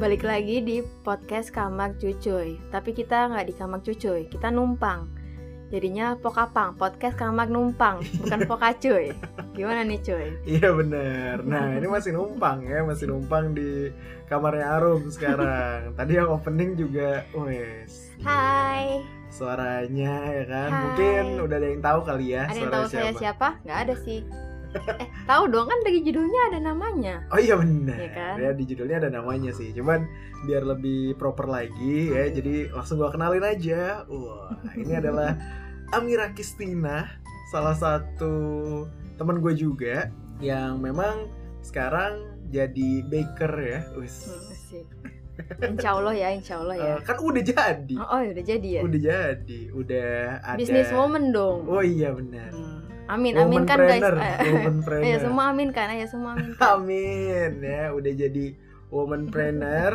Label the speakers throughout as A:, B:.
A: Balik lagi di podcast Kamak Cucuy Tapi kita nggak di Kamak Cucuy, kita numpang Jadinya Pokapang, podcast Kamak Numpang Bukan Pokacuy Gimana nih cuy?
B: Iya bener Nah ini masih numpang ya Masih numpang di kamarnya Arum sekarang Tadi yang opening juga Wes
A: Hai,
B: Suaranya ya kan
A: Hai.
B: Mungkin udah ada yang tahu kali ya
A: ada yang
B: suara
A: tahu saya siapa? Nggak ada sih Eh, tahu dong kan dari judulnya ada namanya
B: Oh iya bener
A: Iya kan?
B: Ya di judulnya ada namanya sih Cuman biar lebih proper lagi ya Jadi langsung gua kenalin aja Wah ini adalah Amira Kistina Salah satu teman gue juga Yang memang sekarang jadi baker ya Wes
A: Hmm, asik. Insya Allah ya, insya Allah ya
B: Eh, kan udah jadi
A: Oh, oh, udah jadi ya?
B: udah jadi udah ada
A: Bisnis moment dong
B: oh iya benar
A: Hmm. Amin, amin kan guys
B: Womanpreneur,
A: Eh,
B: womanpreneur.
A: Ayo semua amin kan, ayo semua amin kan
B: amin ya udah jadi womanpreneur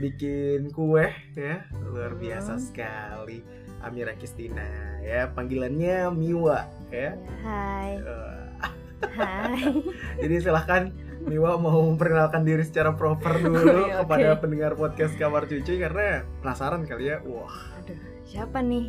B: bikin kue ya luar biasa
A: Hmm.
B: sekali Amira Kristina ya panggilannya Miwa ya
A: Hai,
B: Eh,
A: hai
B: jadi silahkan Miwa mau memperkenalkan diri secara proper dulu
A: Oke, oke.
B: kepada pendengar podcast Kamar Cuci karena penasaran kali ya wah
A: Siapa nih?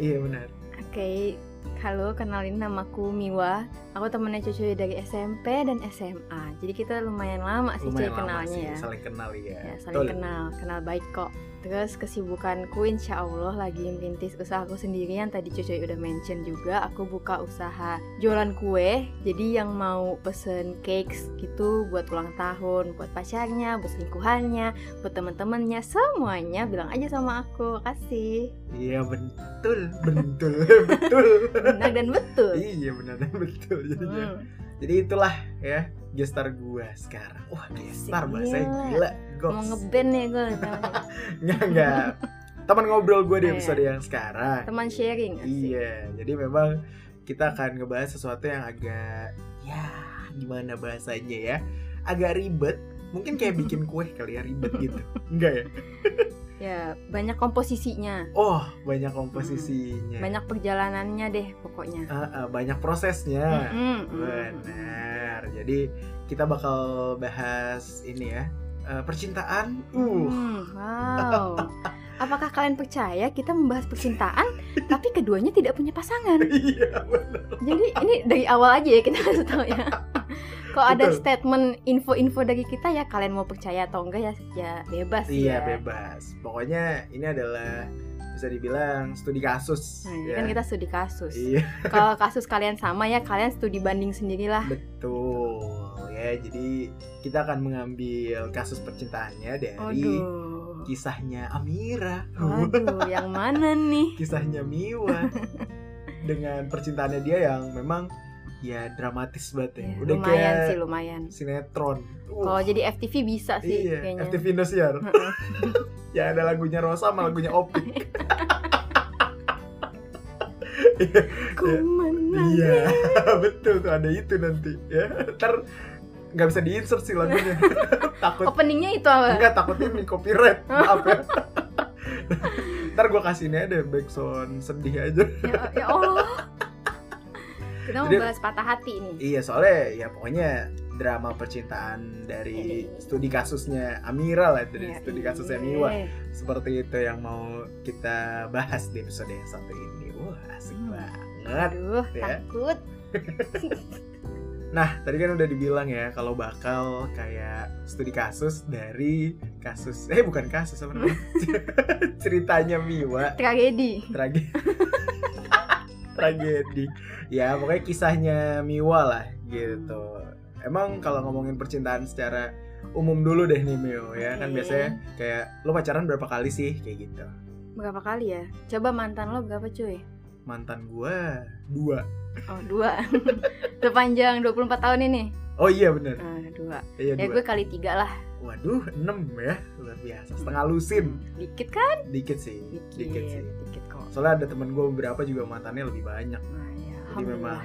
B: iya benar
A: Oke, halo kenalin namaku Miwa Aku temennya cucu dari SMP dan SMA Jadi kita lumayan lama sih cuy
B: lumayan lama
A: kenalnya
B: sih
A: ya
B: saling kenal ya,
A: Ya, saling
B: Betul.
A: kenal, kenal baik kok Terus kesibukanku insya Allah lagi merintis usaha aku sendirian Tadi Cucu udah mention juga Aku buka usaha jualan kue Jadi yang mau pesen cakes gitu buat ulang tahun Buat pacarnya, buat selingkuhannya, buat temen-temennya Semuanya bilang aja sama aku, kasih
B: Iya betul, betul, betul.
A: Benar dan betul
B: iya benar betul jadinya.
A: Hmm,
B: Jadi itulah ya gestar gua sekarang. Wah gestar
A: Gila.
B: bahasa gila,
A: Mau
B: goks.
A: ngeband nih gue
B: Nggak nggak. Teman ngobrol gua di
A: Iya.
B: episode yang sekarang.
A: Teman sharing asik.
B: Iya, jadi memang kita akan ngebahas sesuatu yang agak ya gimana bahasanya ya, agak ribet. Mungkin kayak bikin kue kali ya ribet gitu, enggak ya?
A: Ya, banyak komposisinya
B: Oh banyak komposisinya,
A: Banyak perjalanannya deh pokoknya
B: Ah, ah, banyak prosesnya.
A: Mm-mm, mm-mm.
B: Benar. Jadi kita bakal bahas ini ya eh, percintaan. Uh,
A: Hmm, wow. Apakah kalian percaya kita membahas percintaan tapi keduanya tidak punya pasangan?
B: iya.
A: Jadi ini dari awal aja ya kita kasih tahu ya. Kalau ada
B: Betul.
A: statement info-info dari kita ya kalian mau percaya atau enggak ya ya bebas
B: Iya
A: ya.
B: bebas. Pokoknya ini adalah bisa dibilang studi kasus.
A: Nah, ini
B: ya.
A: kan kita studi kasus.
B: Iya
A: Kalau kasus kalian sama ya kalian studi banding sendirilah.
B: betul ya. Jadi kita akan mengambil kasus percintaannya dari
A: Aduh.
B: kisahnya Amira,
A: Waduh, yang mana nih?
B: kisahnya Miwa dengan percintaannya dia yang memang ya dramatis banget ya.
A: Ya,
B: Udah
A: lumayan
B: kayak
A: sih lumayan.
B: sinetron. Uh.
A: Kalau
B: Wah,
A: jadi FTV bisa sih
B: iya,
A: kayaknya.
B: FTV Indosiar. ya ada lagunya Rosa sama lagunya Opik.
A: Ku
B: Iya.
A: menang.
B: iya, betul tuh ada itu nanti. Ya, ntar nggak bisa diinsert sih lagunya. takut
A: Openingnya itu apa?
B: enggak takutnya ini copyright. Maaf ya. ntar gue kasih ini ada backsound sedih aja.
A: ya, ya Allah. Kita mau
B: Jadi-
A: bahas patah hati nih.
B: Iya soalnya ya pokoknya drama percintaan dari
A: Ini.
B: studi kasusnya Amira lah dari
A: Ya,
B: studi
A: iya.
B: kasusnya Miwa. seperti itu yang mau kita bahas di episode yang satu ini. Wah, asik
A: Hmm.
B: banget.
A: Aduh,
B: Ya.
A: takut.
B: Nah, tadi kan udah dibilang ya kalau bakal kayak studi kasus dari kasus eh bukan kasus apa namanya? Ceritanya Miwa
A: Tragedi.
B: tragedi. tragedi. Ya, pokoknya kisahnya Miwa lah gitu. Emang kalau ngomongin percintaan secara umum dulu deh nih Mio ya kan
A: Oke.
B: biasanya kayak lo pacaran berapa kali sih kayak gitu
A: Berapa kali ya? Coba mantan lo berapa cuy?
B: mantan gua dua
A: Oh, dua. Sepanjang 24 tahun ini.
B: Oh iya bener
A: Eh, dua.
B: Iya
A: Ya
B: dua.
A: gue kali tiga lah.
B: Waduh, 6 ya. Luar biasa. Setengah lusin.
A: Dikit kan?
B: Dikit sih. Dikit,
A: Dikit.
B: sih.
A: Dikit kok.
B: Soalnya ada temen gue beberapa juga mantannya lebih banyak.
A: Nah, ya,
B: Jadi memang
A: Alhamdulillah.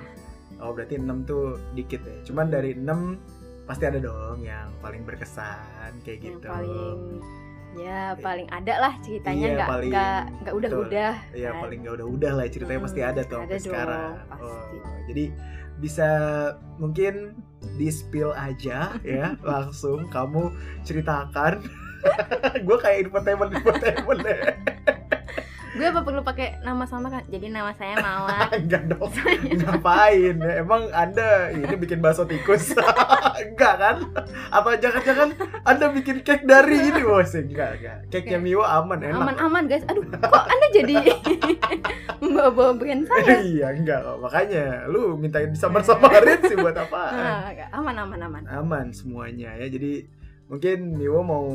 B: Oh berarti 6 tuh dikit ya. Cuman dari 6 pasti ada dong yang paling berkesan kayak
A: Yang
B: gitu.
A: paling ya paling ada lah ceritanya
B: Iya,
A: nggak
B: paling-
A: nggak nggak udah udah
B: Iya
A: kan.
B: paling gak udah-udah lah ceritanya pasti
A: Mm-mm,
B: ada tuh sampai
A: Hmm, ada dong,
B: sekarang.
A: pasti.
B: Oh, jadi bisa mungkin di spill aja ya langsung kamu ceritakan gue kayak infotainment infotainment ya. deh
A: Gue apa perlu pakai nama sama kan? Jadi nama saya Mawar.
B: enggak dong
A: Saya-
B: ngapain emang anda ini bikin bakso tikus enggak kan apa jangan-jangan anda bikin cake dari ini bos enggak enggak cake nya Miwa aman enak
A: Aman-aman guys. Aduh, kok Anda jadi membawa-bawa brand saya?
B: iya enggak kok makanya lu mintain disambar-sambarin sih buat apaan
A: Nah, Aman-aman aman.
B: aman semuanya ya jadi mungkin Miwo mau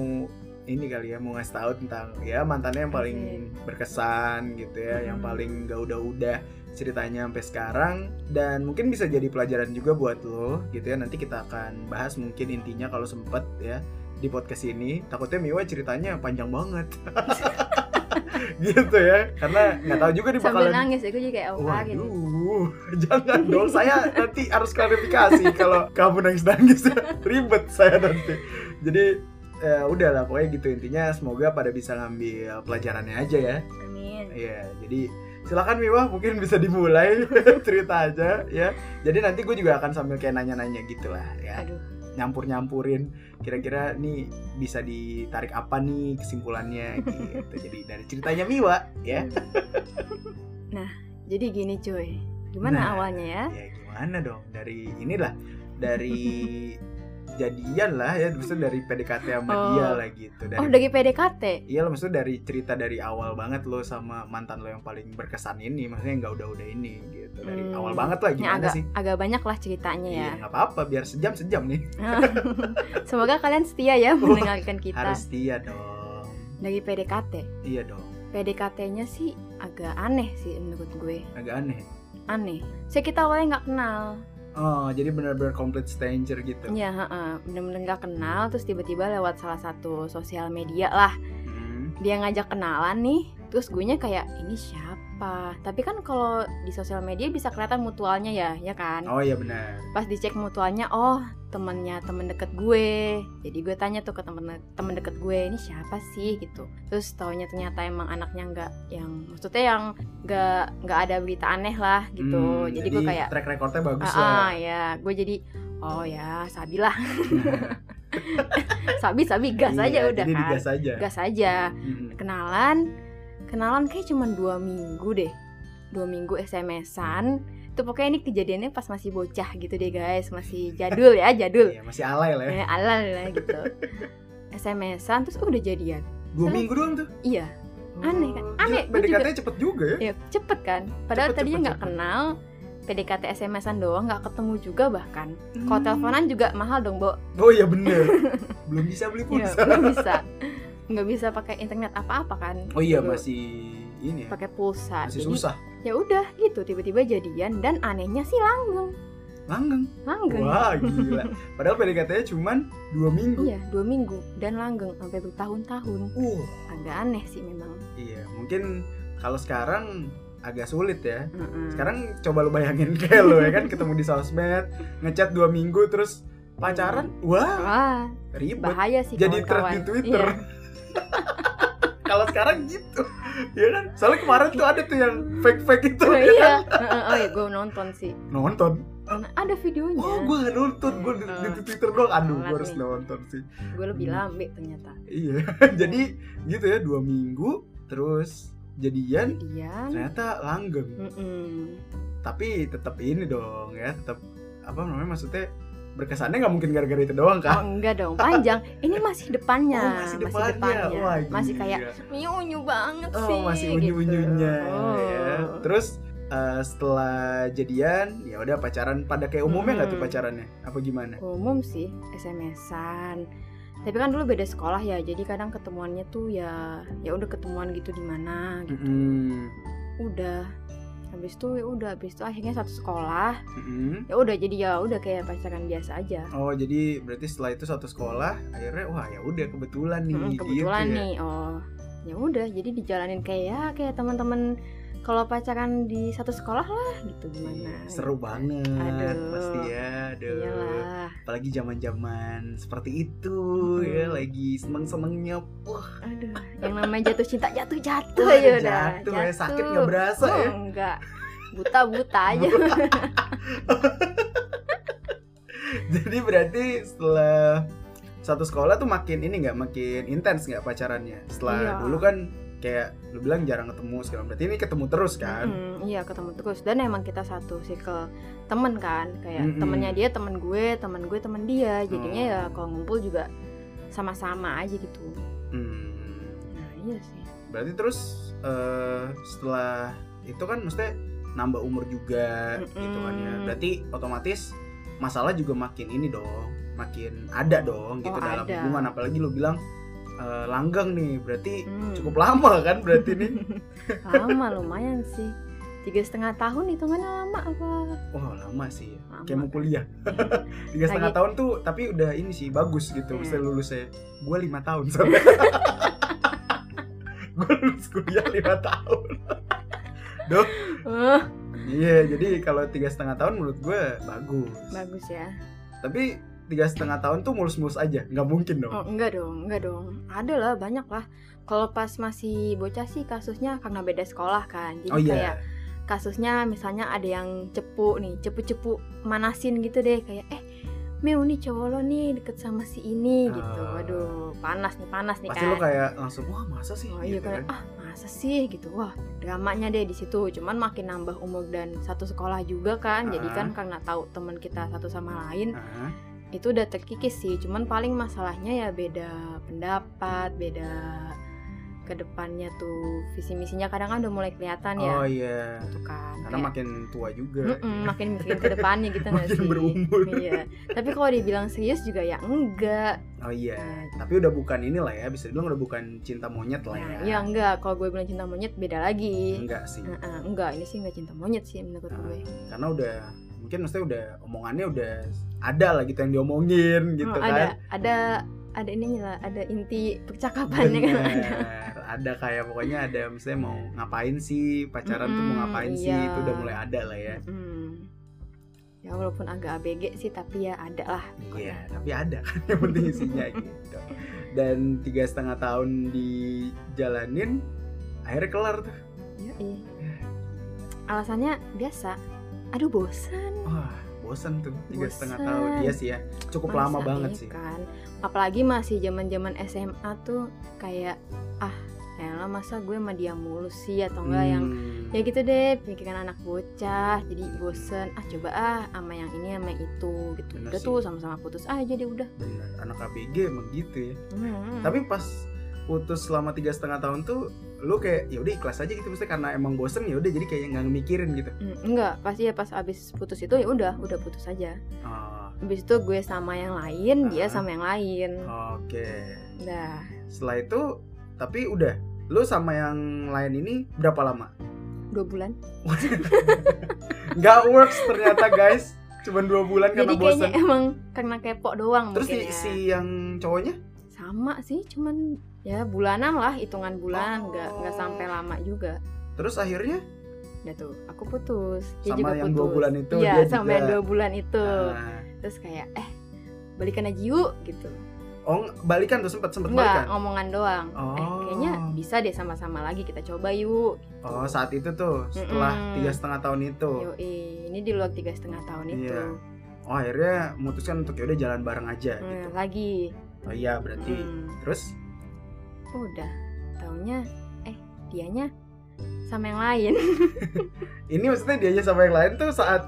B: ini kali ya mau ngasih tahu tentang ya mantannya yang paling berkesan gitu ya yang
A: Hmm.
B: paling gak udah-udah ceritanya sampai sekarang dan mungkin bisa jadi pelajaran juga buat lo gitu ya nanti kita akan bahas mungkin intinya kalau sempet ya di podcast ini takutnya Miwa ceritanya panjang banget gitu ya karena nggak tahu juga nih
A: Sambil
B: bakalan
A: nangis ya, gue jadi kayak oh, kaget. nih.
B: Waduh, jangan dong. Saya nanti harus klarifikasi kalau kamu nangis-nangis ribet saya nanti. Jadi ya udahlah pokoknya gitu intinya semoga pada bisa ngambil pelajarannya aja ya.
A: Amin.
B: Iya, jadi silakan Miwa mungkin bisa dimulai cerita aja ya. Jadi nanti gue juga akan sambil kayak nanya-nanya gitu lah ya.
A: Aduh.
B: Nyampur-nyampurin kira-kira nih bisa ditarik apa nih kesimpulannya gitu. Jadi dari ceritanya Miwa ya.
A: Jadi gini cuy. Gimana
B: Nah.
A: awalnya ya?
B: ya gimana dong dari inilah dari jadian lah ya maksudnya dari PDKT sama
A: Oh.
B: dia lah gitu dari
A: Oh, dari PDKT.
B: iya lah maksudnya dari cerita dari awal banget lo sama mantan lo yang paling berkesan ini maksudnya nggak udah-udah ini gitu
A: Hmm.
B: dari awal banget lah
A: Ya,
B: gimana
A: agak
B: sih
A: agak banyak lah ceritanya
B: Iya,
A: ya.
B: nggak apa-apa biar sejam sejam nih
A: Semoga kalian setia ya mendengarkan kita.
B: harus dia dong
A: Dari PDKT.
B: iya dong
A: PDKT-nya sih agak aneh sih menurut gue.
B: agak aneh
A: Aneh. Saya kita awalnya nggak kenal.
B: oh jadi benar-benar complete stranger gitu
A: Iya, heeh. bener-bener nggak kenal. Terus tiba-tiba lewat salah satu sosial media lah.
B: Hmm.
A: Dia ngajak kenalan nih. Terus gue nya kayak ini siapa? Tapi kan kalau di sosial media bisa kelihatan mutualnya ya, ya kan?
B: oh iya benar
A: Pas dicek mutualnya, oh temennya temen deket gue. Jadi gue tanya tuh ke temen temen deket gue ini siapa sih gitu. Terus taunya ternyata emang anaknya nggak yang maksudnya yang nggak nggak ada berita aneh lah gitu.
B: Hmm,
A: jadi, gue kayak
B: track recordnya bagus
A: ah,
B: lah
A: ah, ya gue jadi oh ya sabi lah sabi sabi gas
B: Iya,
A: aja udah
B: jadi
A: kan.
B: digas aja Hmm.
A: Gas aja.
B: Mm-mm.
A: Kenalan, kenalan kayak cuma dua minggu deh. Dua minggu SMS-an. Itu pokoknya ini kejadiannya pas masih bocah gitu deh guys, masih jadul ya, jadul.
B: Iya, masih alay lah ya.
A: Ya, alal lah gitu. SMS-an terus oh, udah jadian.
B: Dua
A: Terus-
B: minggu doang tuh.
A: Iya, Aneh kan?
B: Oh,
A: Aneh,
B: gila,
A: gua juga-
B: PDKT-nya cepet juga ya.
A: ya cepet kan. Padahal
B: Cepet,
A: tadinya
B: cepet,
A: nggak
B: cepet.
A: kenal. PDKT SMS-an doang nggak ketemu juga bahkan. Kalau
B: Hmm.
A: teleponan juga mahal dong, Bo.
B: Oh iya bener. Belum bisa beli
A: Iya,
B: pulsa.
A: nggak bisa. Nggak bisa pakai internet apa-apa kan.
B: Oh iya
A: Dulu.
B: masih ini ya.
A: pakai pulsa.
B: Masih
A: Jadi
B: susah.
A: ya udah gitu tiba-tiba jadian dan anehnya sih langgeng
B: Langgeng.
A: langgeng
B: Wah gila. Padahal PDKT-nya cuman dua minggu.
A: iya dua minggu dan langgeng sampai bertahun-tahun
B: Uh,
A: agak aneh sih memang
B: iya. Mungkin kalau sekarang agak sulit ya.
A: Mm-mm.
B: Sekarang coba lu bayangin kayak lo ya kan ketemu di sosmed, ngechat dua minggu terus pacaran. Wah,
A: wah
B: ribet.
A: bahaya sih
B: Jadi
A: kawan-kawan.
B: thread di Twitter.
A: Iya.
B: Kalau sekarang gitu. Iya kan? Soalnya kemarin tuh ada tuh yang fake-fake itu.
A: oh,
B: ya
A: iya Mm-mm. oh iya gue nonton sih
B: Nonton.
A: Nah, ada videonya
B: Oh, gue gak nonton, gue di, di Twitter doang. Aduh, gue
A: Telat
B: harus
A: nih.
B: nonton sih.
A: gue lebih lambe ternyata
B: Iya, jadi gitu ya dua minggu, terus jadian,
A: jadian
B: ternyata langgeng.
A: Iya. Mm-mm.
B: Tapi tetap ini dong ya, tetap apa namanya maksudnya berkesannya nggak mungkin gara-gara itu doang
A: Oh
B: kan?
A: enggak dong, panjang. Ini Iya, masih depannya,
B: Oh, Wah,
A: masih
B: gila.
A: kayak unyu unyu banget sih.
B: oh masih
A: gitu.
B: unyu-unyunya. ya.
A: Oh.
B: Terus eh, setelah jadian, ya udah pacaran pada kayak umumnya nggak tuh
A: Hmm.
B: pacarannya? Apa gimana?
A: Oh. umum sih SMS-an tapi kan dulu beda sekolah ya jadi kadang ketemuannya tuh ya ya udah ketemuan gitu di mana gitu.
B: Mm-mm. Hmm.
A: udah habis itu ya udah habis itu akhirnya satu sekolah
B: Mm-mm.
A: ya udah jadi ya udah kayak pacaran biasa aja
B: Oh jadi berarti setelah itu satu sekolah akhirnya wah ya udah kebetulan nih
A: Mm,
B: gitu
A: kebetulan
B: ya.
A: nih oh ya udah jadi dijalanin kayak ya kayak teman-teman kalau pacaran di satu sekolah lah gitu gimana
B: Iya, seru banget
A: Aduh.
B: pasti ya aduh
A: iyalah
B: apalagi zaman-zaman seperti itu ya
A: Hmm.
B: lagi seneng-senengnya wah
A: aduh yang namanya jatuh cinta jatuh jatuh
B: wah,
A: ya udah
B: jatuh ya sakit nggak berasa
A: Oh,
B: ya
A: enggak buta buta aja
B: jadi berarti setelah satu sekolah tuh makin ini nggak makin intens nggak pacarannya setelah
A: Iya.
B: dulu kan kayak lu bilang jarang ketemu sekarang berarti ini ketemu terus kan
A: Mm-mm, iya ketemu terus dan emang kita satu circle temen kan kayak
B: Mm-mm.
A: temennya dia temen gue temen gue temen dia jadinya
B: Oh.
A: ya kalau ngumpul juga sama-sama aja gitu
B: Hmm.
A: nah iya sih
B: berarti terus eh, setelah itu kan mesti nambah umur juga gitu kan ya
A: Mm-mm.
B: berarti otomatis masalah juga makin ini dong makin ada dong gitu
A: Oh, ada.
B: dalam hubungan apalagi lu bilang eh, langgang nih berarti
A: Hmm.
B: cukup lama kan berarti nih
A: lama lumayan sih tiga setengah tahun itu mana lama apa
B: wah lama sih ya.
A: Lama.
B: kayak mau kuliah tiga setengah
A: Lagi-
B: tahun tuh tapi udah ini sih bagus
A: Iya.
B: gitu mesti lulusnya gue lima tahun sampai gue lulus kuliah lima tahun
A: Eh,
B: iya jadi kalau tiga setengah tahun menurut gue bagus
A: bagus ya
B: tapi tiga setengah tahun tuh mulus-mulus aja nggak mungkin dong
A: Oh, enggak dong, enggak dong. Ada lah, banyak lah. Kalau pas masih bocah sih kasusnya karena beda sekolah kan. Jadi
B: oh iya
A: kayak kasusnya misalnya ada yang cepu nih, cepu-cepu manasin gitu deh kayak eh Meu nih cowok lo nih deket sama si ini gitu.
B: Ah.
A: Waduh, panas nih, panas nih
B: pasti
A: kan.
B: lu kayak langsung wah masa sih
A: Oh iya
B: Gitu
A: kan, ah masa sih gitu, wah dramanya deh di situ. Cuman makin nambah umur dan satu sekolah juga kan, jadi
B: Ah.
A: kan karena tahu teman kita satu sama lain
B: Ah,
A: itu udah terkikis sih. Cuman paling masalahnya ya beda pendapat, beda kedepannya tuh visi misinya kadang kan udah mulai kelihatan ya,
B: oh iya
A: gitu kan.
B: karena
A: Kayak-
B: makin tua juga
A: Mm-mm, makin mikirin ke depannya gitu nggak
B: Makin
A: sih?
B: berumur.
A: Iya. Tapi kalau dibilang serius juga ya enggak.
B: oh iya
A: Nah,
B: tapi udah bukan inilah ya bisa dibilang udah bukan cinta monyet lah
A: Nah,
B: ya
A: ya enggak. Kalau gue bilang cinta monyet beda lagi.
B: enggak sih
A: Heeh, enggak, ini sih enggak cinta monyet sih menurut
B: Ah,
A: gue.
B: karena udah mungkin maksudnya udah omongannya udah ada lah gitu yang diomongin gitu
A: Oh, ada
B: kan
A: ada ada ininya lah, ada inti percakapannya kan ada.
B: Bener. ada kayak pokoknya ada misalnya mau ngapain sih pacaran tuh mau
A: Mm-mm,
B: ngapain sih
A: iya.
B: itu udah mulai ada lah ya
A: Mm. Ya walaupun agak ABG sih tapi ya ada lah.
B: Iya, tapi ada kan yang penting isinya gitu. Dan tiga setengah tahun dijalanin, akhirnya kelar tuh.
A: Yoi. Alasannya biasa. Aduh bosan.
B: Wah, bosan tuh tiga
A: Bosan.
B: setengah tahun. Iya sih ya, cukup lama
A: Masa
B: banget
A: iya
B: sih.
A: kan apalagi masih zaman zaman SMA tuh kayak ah elah masa gue sama dia mulu sih atau enggak yang
B: Hmm.
A: ya gitu deh pikiran anak bocah jadi bosen ah coba ah sama yang ini sama yang itu gitu
B: Bener
A: udah
B: sih.
A: tuh sama-sama putus aja deh udah
B: Bener, anak ABG emang gitu ya.
A: Hmm.
B: Tapi pas putus selama tiga setengah tahun tuh, lu kayak ya udah ikhlas aja gitu mesti karena emang bosen ya udah jadi kayak nggak mikirin gitu.
A: Hmm, enggak pasti ya pas abis putus itu ya udah udah putus aja
B: Oh,
A: abis itu gue sama yang lain dia
B: Ah.
A: sama yang lain
B: Oke.
A: dah
B: Setelah itu, tapi udah, lu sama yang lain ini berapa lama?
A: dua bulan
B: Nggak works ternyata guys. Cuman dua bulan
A: jadi
B: karena
A: kayaknya
B: bosen.
A: emang karena kepo doang
B: Terus si,
A: mungkin ya.
B: si yang cowoknya?
A: sama sih cuman ya bulanan lah hitungan bulanan nggak nggak sampai lama juga
B: Terus akhirnya
A: udah tuh aku putus dia juga
B: Sama yang
A: putus
B: dua bulan itu,
A: Iya,
B: dia
A: sama
B: juga.
A: yang dua bulan itu
B: ah,
A: terus kayak eh balikan aja yuk gitu
B: oh ng- balikan tuh sempet sempet
A: nggak
B: balikan.
A: ngomongan doang eh
B: Oh.
A: kayaknya bisa deh sama-sama lagi kita coba yuk
B: Oh saat itu tuh setelah
A: Mm-mm.
B: tiga setengah tahun itu.
A: Yoi, eh, ini di luar tiga setengah tahun itu
B: Iya, Oh akhirnya memutuskan untuk yaudah jalan bareng aja
A: Hmm,
B: gitu.
A: lagi
B: Oh iya berarti.
A: Hmm, Oh,
B: Terus
A: udah taunya eh dianya sama yang lain
B: ini maksudnya dianya sama yang lain tuh saat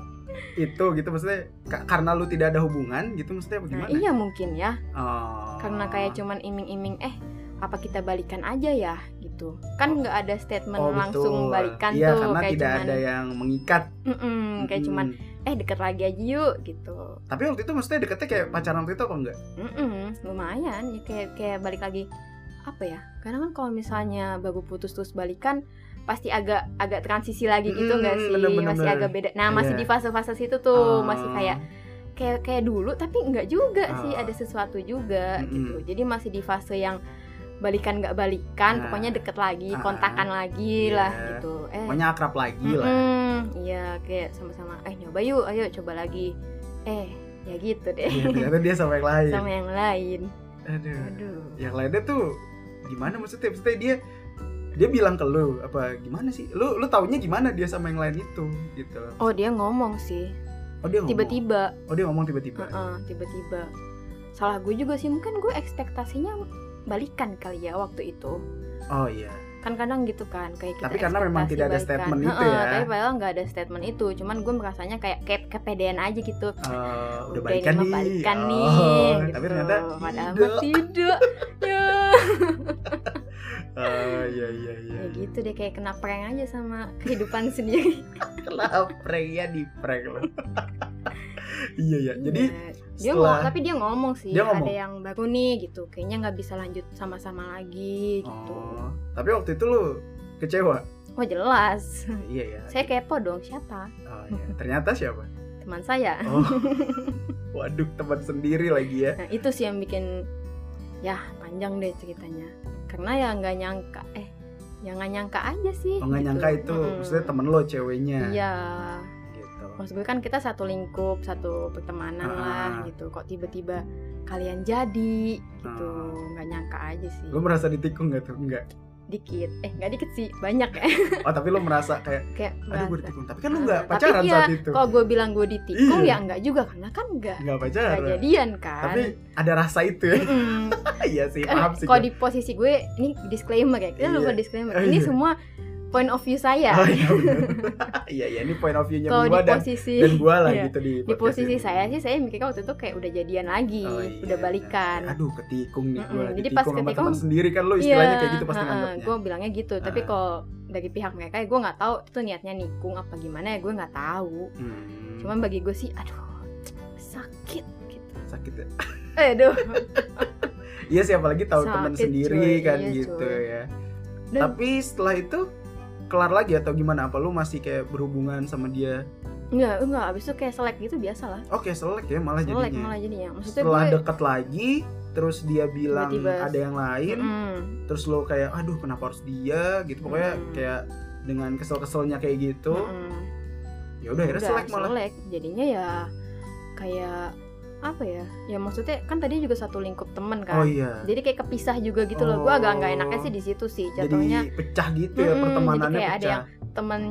B: itu gitu maksudnya ka- karena lu tidak ada hubungan gitu maksudnya apa
A: nah,
B: gimana?
A: iya mungkin ya
B: Oh.
A: karena kayak cuman iming-iming eh apa kita balikan aja ya gitu kan nggak ada statement
B: Oh,
A: langsung
B: betul.
A: balikan
B: iya,
A: tuh
B: karena
A: kayak
B: tidak
A: cuman
B: ada yang mengikat.
A: "Mm-mm," kayak
B: Mm-mm.
A: cuman eh deket lagi aja yuk gitu
B: Tapi waktu itu maksudnya deketnya kayak pacaran waktu itu apa enggak?
A: Mm-mm, lumayan ya kayak kayak balik lagi apa ya karena kan kalau misalnya baru putus terus balikan pasti agak agak transisi lagi gitu
B: Mm,
A: nggak sih
B: bener-bener.
A: masih agak beda nah masih
B: Iya.
A: di fase-fase situ tuh masih
B: Ah.
A: kayak kayak kayak dulu tapi nggak juga sih
B: Ah.
A: ada sesuatu juga
B: Mm-mm.
A: gitu jadi masih di fase yang balikan nggak balikan
B: Nah.
A: pokoknya deket lagi
B: Ah.
A: kontakan lagi
B: Iya.
A: lah gitu eh
B: Pokoknya akrab lagi lah. ya.
A: mm-mm, iya kayak sama-sama eh nyoba yuk ayo coba lagi eh ya gitu deh
B: Iya, ternyata dia sama yang lain.
A: sama yang lain
B: Aduh.
A: aduh
B: Yang lainnya tuh gimana maksudnya? Maksudnya dia dia bilang ke lu apa gimana sih? Lu lu taunya gimana dia sama yang lain itu gitu.
A: Oh dia ngomong sih
B: Oh dia ngomong.
A: tiba-tiba,
B: Oh dia ngomong tiba-tiba.
A: Heeh, tiba-tiba. salah gue juga sih mungkin gue ekspektasinya balikan kali ya waktu itu
B: Oh iya.
A: kan kadang gitu kan kayak kita
B: Tapi karena memang
A: ekspektasi
B: tidak ada
A: balikan.
B: statement itu
A: Heeh,
B: ya.
A: tapi padahal nggak ada statement itu cuman gue merasanya kayak kayak kepedean aja gitu
B: Eh, udah
A: ini
B: balikan
A: mah
B: nih.
A: balikan
B: Oh,
A: nih gitu.
B: Tapi ternyata
A: padahal
B: tidak.
A: mah tidak ya
B: Oh iya iya iya.
A: ya gitu deh kayak kena prank aja sama kehidupan sendiri
B: Lah prank ya di prank loh. iya iya. Jadi
A: Iya. dia
B: setelah-
A: ngomong tapi dia ngomong sih
B: Dia ngomong.
A: ada yang baru nih gitu kayaknya nggak bisa lanjut sama-sama lagi gitu
B: Oh, tapi waktu itu lu kecewa.
A: oh jelas
B: iya ya.
A: saya kepo dong siapa
B: Oh, iya. Ternyata siapa?
A: teman saya
B: Oh. Waduh, teman sendiri lagi ya.
A: nah itu sih yang bikin ya panjang deh ceritanya karena ya nggak nyangka eh ya nggak nyangka aja sih
B: Oh, nggak
A: gitu.
B: nyangka itu
A: Mm-mm.
B: maksudnya temen lo ceweknya.
A: iya
B: Gitu.
A: maksud gue kan kita satu lingkup satu pertemanan
B: Ah.
A: lah gitu kok tiba-tiba kalian jadi gitu
B: Ah.
A: nggak nyangka aja sih
B: Lo merasa ditikung gak tuh? Enggak.
A: dikit eh nggak dikit sih banyak ya
B: Oh, tapi lo merasa kayak
A: kayak
B: aduh gue
A: merasa.
B: ditikung. Tapi kan lo
A: Ah,
B: enggak
A: tapi
B: pacaran
A: iya,
B: saat itu.
A: kalau gue bilang gue ditikung
B: Gitu. Iya.
A: ya enggak juga karena kan enggak
B: Enggak
A: enggak
B: pacaran.
A: jadian kan
B: Tapi ada rasa itu ya.
A: Mm-mm.
B: Iya sih,
A: Eh,
B: paham sih.
A: kalau
B: gue.
A: di posisi gue ini disclaimer ya kita lupa
B: Iya.
A: disclaimer
B: Oh,
A: ini
B: iya.
A: semua point of view saya
B: Oh, iya, bener. iya, iya, ini point of view-nya
A: kalau di
B: gua dan,
A: posisi
B: dan gua lah
A: iya.
B: gitu di
A: di
B: podcast
A: posisi
B: ini.
A: saya sih saya mikirnya waktu itu kayak udah jadian lagi
B: Oh, iya,
A: udah balikan
B: bener. Aduh, ketikung nih gua.
A: Mm-mm. Jadi
B: Ditikung
A: pas
B: sama
A: ketikung- Iya,
B: teman sendiri kan lo istilahnya kayak gitu pasti Ah.
A: heeh,
B: nganggapnya.
A: gue bilangnya gitu tapi
B: Heeh.
A: kalau dari pihak mereka ya gue nggak tahu itu niatnya nikung apa gimana ya gue nggak tahu
B: Hmm,
A: cuman bagi gue sih aduh sakit gitu
B: sakit ya.
A: eh aduh
B: Iya sih apalagi tahu
A: Sakit,
B: teman sendiri
A: cuy.
B: kan
A: Iya,
B: gitu
A: cuy.
B: ya.
A: Dan-
B: Tapi setelah itu kelar lagi atau gimana? Apa lu masih kayak berhubungan sama dia?
A: nggak nggak abis itu kayak selek gitu biasa lah
B: Oke, selek ya malah
A: selek
B: jadinya.
A: malah jadinya maksudnya
B: setelah
A: gue
B: deket lagi, terus dia bilang
A: Tiba-tiba-
B: ada yang lain,
A: Mm-mm.
B: terus lo kayak aduh kenapa harus dia gitu. Pokoknya
A: Mm.
B: kayak dengan kesel-keselnya kayak gitu.
A: Mm-mm.
B: Ya udah akhirnya
A: Udah,
B: selek malah.
A: selek. jadinya ya kayak apa ya ya maksudnya kan tadi juga satu lingkup temen kan
B: Oh iya.
A: jadi kayak kepisah juga gitu loh gue agak nggak enaknya
B: Oh.
A: sih di situ sih
B: Jadi
A: jatuhnya
B: pecah gitu ya
A: Mm-mm,
B: pertemanannya
A: jadi kayak ada
B: pecah.
A: yang temen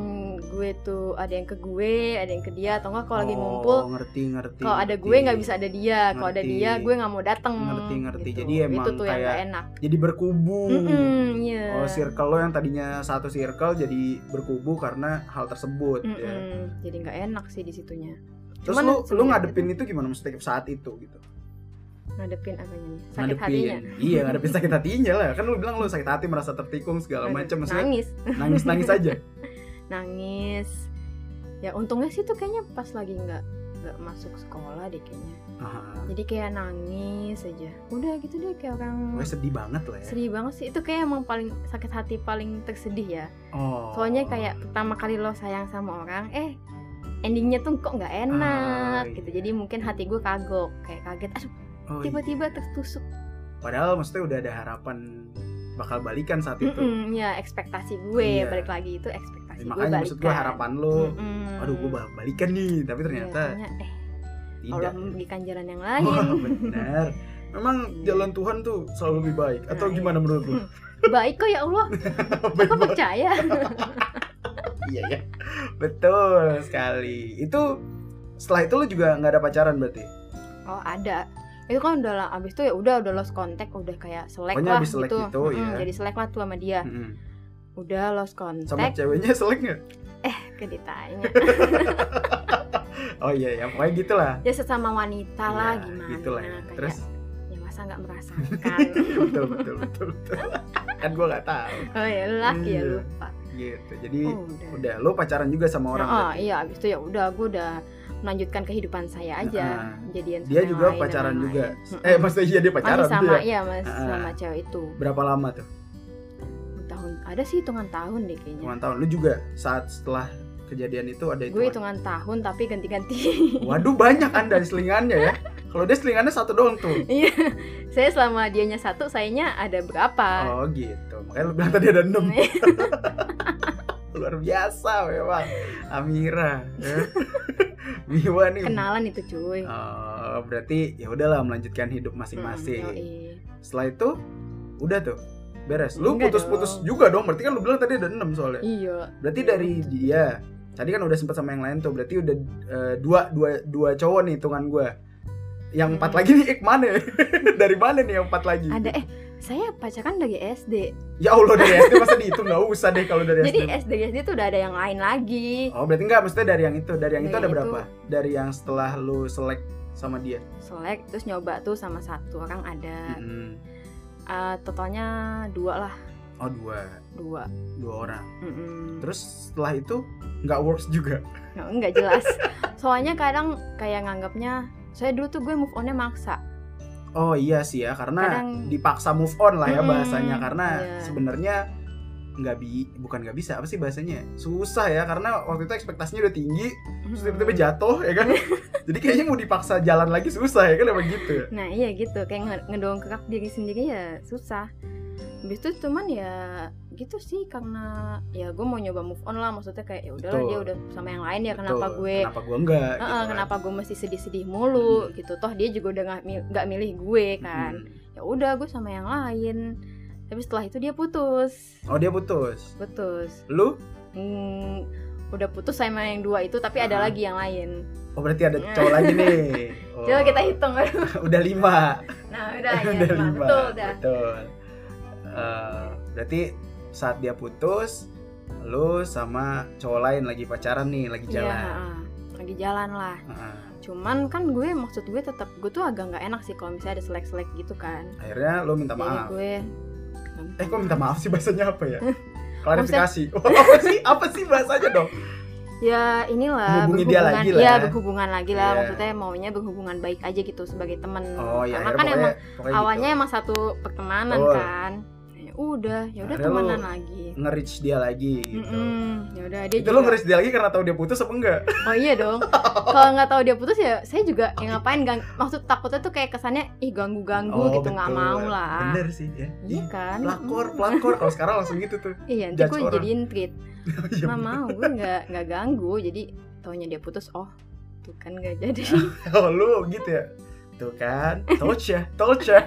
A: gue tuh ada yang ke gue ada yang ke dia atau enggak kalau lagi
B: Oh,
A: ngumpul
B: ngerti ngerti.
A: kalau ada
B: ngerti.
A: gue nggak bisa ada dia kalau ada
B: Ngerti.
A: dia gue nggak mau dateng
B: Ngerti, ngerti.
A: gitu.
B: Jadi emang
A: itu tuh yang
B: kayak
A: gak enak
B: Jadi berkubu.
A: Mm-mm, iya.
B: Oh, circle lo yang tadinya satu circle jadi berkubu karena hal tersebut
A: Mm-mm,
B: ya.
A: jadi nggak enak sih di situnya
B: Terus
A: Hmm, Cuman gitu.
B: lu, lu
A: semenjak
B: ngadepin itu gimana mesti saat itu gitu?
A: ngadepin apanya nih sakit
B: ngadepin.
A: hatinya
B: Iya, ngadepin sakit hatinya lah. Kan lu bilang lu sakit hati merasa tertikung segala
A: Aduh,
B: macam maksudnya
A: nangis
B: nangis-nangis aja.
A: nangis ya untungnya sih tuh kayaknya pas lagi nggak nggak masuk sekolah deh kayaknya
B: Ah,
A: jadi kayak nangis aja udah gitu deh kayak orang
B: gue sedih banget lah ya.
A: sedih banget sih itu kayak emang paling sakit hati paling tersedih ya
B: Oh.
A: soalnya kayak pertama kali lo sayang sama orang eh endingnya tuh kok nggak enak
B: Ah, iya.
A: gitu jadi mungkin hati gue kagok kayak kaget aduh
B: Oh, iya.
A: tiba-tiba tertusuk
B: Padahal maksudnya udah ada harapan bakal balikan saat itu.
A: Mm-mm, ya ekspektasi gue
B: gitu. Iya.
A: balik lagi itu ekspektasi gue
B: Makanya maksud gue
A: balikan.
B: harapan lo,
A: Mm-mm.
B: aduh gue bak- balikan nih, tapi
A: Iya,
B: ternyata
A: taunya, eh Allah
B: tidak.
A: memberikan jalan yang
B: Wah,
A: lain
B: benar. Memang
A: Iya.
B: jalan Tuhan tuh selalu lebih baik atau
A: Nah, iya.
B: gimana menurut lu?
A: baik kok ya Allah
B: Baik
A: aku
B: banget.
A: percaya
B: Iya ya. Betul sekali. Itu setelah itu lu juga nggak ada pacaran berarti?
A: oh ada itu kan udah lah abis itu ya udah udah lost contact udah kayak selek
B: Pokoknya
A: lah
B: abis selek
A: gitu,
B: gitu,
A: Mm-mm,
B: ya.
A: jadi selek lah tuh sama dia
B: Mm-mm.
A: udah lost contact
B: Sama ceweknya selek nggak?
A: ke ditanya
B: Oh iya ya, pokoknya gitulah.
A: ya sesama wanita lah
B: Iya,
A: gimana
B: gitulah ya.
A: kayak
B: Terus
A: ya masa nggak merasakan
B: betul betul betul betul. kan gue nggak tahu.
A: oh ya laki ya
B: Iya.
A: lupa
B: Gitu. Jadi
A: oh, udah
B: udah lu pacaran juga sama orang
A: Nah, oh
B: berarti?
A: iya abis itu ya udah gue udah melanjutkan kehidupan saya aja
B: Nah,
A: jadian
B: Dia
A: sama yang
B: juga
A: lain,
B: pacaran
A: yang lain.
B: juga.
A: Mm-mm.
B: Eh, maksudnya iya dia pacaran
A: masih sama
B: dia.
A: iya masih
B: Ah.
A: sama cewek itu
B: Berapa lama tuh?
A: tahun ada sih hitungan tahun deh kayaknya
B: Hitungan tahun. Lu juga saat setelah kejadian itu ada
A: gue
B: hitungan.
A: hitungan tahun tapi ganti-ganti
B: Waduh banyak kan dari selingannya ya. Kalau dia selingannya satu doang tuh.
A: iya saya selama dianya satu sayanya ada berapa Eh,
B: Oh gitu. Makanya lu bilang tadi ada enam.
A: Iya.
B: Luar biasa memang. Amira. ya. Miwa nih.
A: kenalan itu cuy
B: Oh, berarti ya udahlah melanjutkan hidup
A: Mm,
B: masing-masing.
A: yoi.
B: Setelah itu udah tuh beres. Lu
A: Enggak
B: putus-putus
A: dong.
B: juga dong. Berarti kan lu bilang tadi ada enam soalnya.
A: iya
B: Berarti
A: Iya,
B: dari
A: betul.
B: dia tadi kan udah sempat sama yang lain tuh. Berarti udah eh, dua dua dua cowok nih hitungan gue. Yang empat lagi nih Ikman ya? dari mana nih yang empat lagi?
A: Ada eh saya pacaran dari SD.
B: Ya Allah dari SD masa dihitung nggak usah deh kalau dari
A: Jadi
B: SD.
A: SD SD tuh udah ada yang lain lagi.
B: Oh berarti nggak? Maksudnya dari yang itu, dari yang itu
A: Dari
B: ada
A: yang
B: berapa? Dari yang setelah lu selek sama dia?
A: Selek terus nyoba tuh sama satu orang ada.
B: Mm-mm.
A: Ah, totalnya dua lah,
B: Mm-hmm. Oh dua,
A: dua.
B: dua orang.
A: Mm-mm.
B: Terus setelah itu nggak works juga.
A: Nggak- nggak jelas. Soalnya kadang kayak nganggapnya saya dulu tuh gue move onnya maksa.
B: Oh iya sih ya karena
A: Kadang-
B: dipaksa move on lah ya
A: Mm-mm,
B: bahasanya karena
A: Hmm, iya.
B: sebenarnya nggak bi bukan nggak bisa apa sih bahasanya susah ya karena waktu itu ekspektasinya udah tinggi terus
A: Hmm.
B: tiba-tiba jatuh ya kan jadi kayaknya mau dipaksa jalan lagi susah ya kan emang gitu ya
A: Nah iya gitu, kayak nge- ngedongkrak diri sendiri ya susah Habis itu cuman ya gitu sih karena ya gue mau nyoba move on lah Maksudnya kayak ya udahlah
B: Betul.
A: dia udah sama yang lain ya kenapa
B: Betul.
A: gue
B: kenapa gitu kan? gue enggak
A: Heeh, kenapa gue mesti sedih-sedih mulu
B: Hmm.
A: gitu Toh dia juga udah nggak mil- nggak milih gue kan Ya udah gue sama yang lain Tapi setelah itu dia putus
B: oh dia putus
A: Putus
B: lu
A: Hmm, Udah putus sama yang dua itu tapi ada
B: Aha.
A: lagi yang lain
B: oh berarti ada cowok lagi nih Oh.
A: Iya. Coba kita hitung
B: udah lima
A: Nah udah ya
B: udah
A: lima.
B: lima
A: Betul dah
B: betul. Eh, berarti saat dia putus lu sama cowok lain lagi pacaran nih lagi
A: Iya,
B: jalan
A: heeh. lagi jalan lah
B: Heeh.
A: cuman kan gue maksud gue tetap gue tuh agak nggak enak sih kalau misalnya ada selek selek gitu kan
B: akhirnya lu minta
A: jadi
B: maaf
A: gue
B: eh kok minta maaf sih bahasanya apa ya klarifikasi
A: Maksudnya-
B: Oh, apa sih apa sih bahasanya dong
A: ya inilah
B: Hubungi dia
A: berhubungan-
B: lagi
A: ya
B: lah.
A: berhubungan lagi lah
B: Iya.
A: maksudnya maunya berhubungan baik aja gitu sebagai temen
B: oh ya
A: karena kan
B: akhirnya pokoknya,
A: emang
B: pokoknya gitu.
A: awalnya emang satu pertemanan
B: Betul.
A: kan ya udah ya udah
B: Akhirnya lu
A: temenan lagi
B: gitu. nge-reach dia lagi gitu
A: Mm-mm. ya udah dia
B: itu
A: juga
B: lu nge-reach dia lagi karena tahu dia putus apa enggak
A: oh iya dong kalau nggak tahu dia putus ya saya juga ya ngapain gang maksud takutnya tuh kayak kesannya ih ganggu ganggu
B: Oh,
A: gitu nggak
B: betul.
A: mau lah
B: bener sih ya
A: iya
B: Ih,
A: kan
B: pelakor
A: Mm.
B: pelakor kalau sekarang langsung gitu tuh
A: Iya, nanti
B: judge
A: gue
B: orang.
A: jadiin treat.
B: Iya,
A: Nggak mau, gue nggak nggak ganggu. Jadi taunya dia putus, oh tuh kan nggak jadi.
B: Oh lu gitu ya Tuh kan Told ya Told ya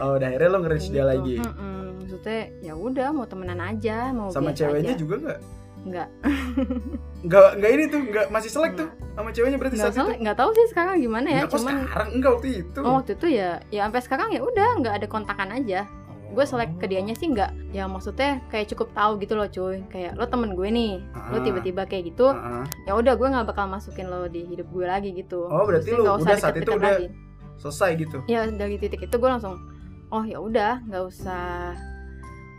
B: Oh udah akhirnya lo nge-reach
A: Gitu.
B: dia lagi
A: Mm-mm. Maksudnya ya udah mau temenan aja, mau biasa
B: Sama ceweknya
A: aja.
B: juga gak?
A: Nggak,
B: Nggak, nggak ini tuh nggak masih selek tuh Sama ceweknya berarti
A: nggak
B: saat
A: usah,
B: itu
A: nggak tahu sih sekarang gimana ya.
B: gitu. Nggak, kok
A: Cuman
B: sekarang Enggak waktu itu
A: oh, waktu itu ya, ya sampai sekarang ya udah nggak ada kontakan aja. Gue selek ke dianya sih nggak. Ya maksudnya kayak cukup tahu gitu loh cuy. Kayak lo temen gue nih, lo
B: Ah.
A: tiba-tiba kayak gitu,
B: Heeh.
A: ya udah gue nggak bakal masukin lo di hidup gue lagi gitu.
B: Oh, berarti
A: Maksudnya
B: lo
A: nggak usah
B: udah saat itu
A: deket-deket
B: udah-
A: lagi.
B: Selesai gitu
A: ya dari titik itu gue langsung oh ya udah nggak usah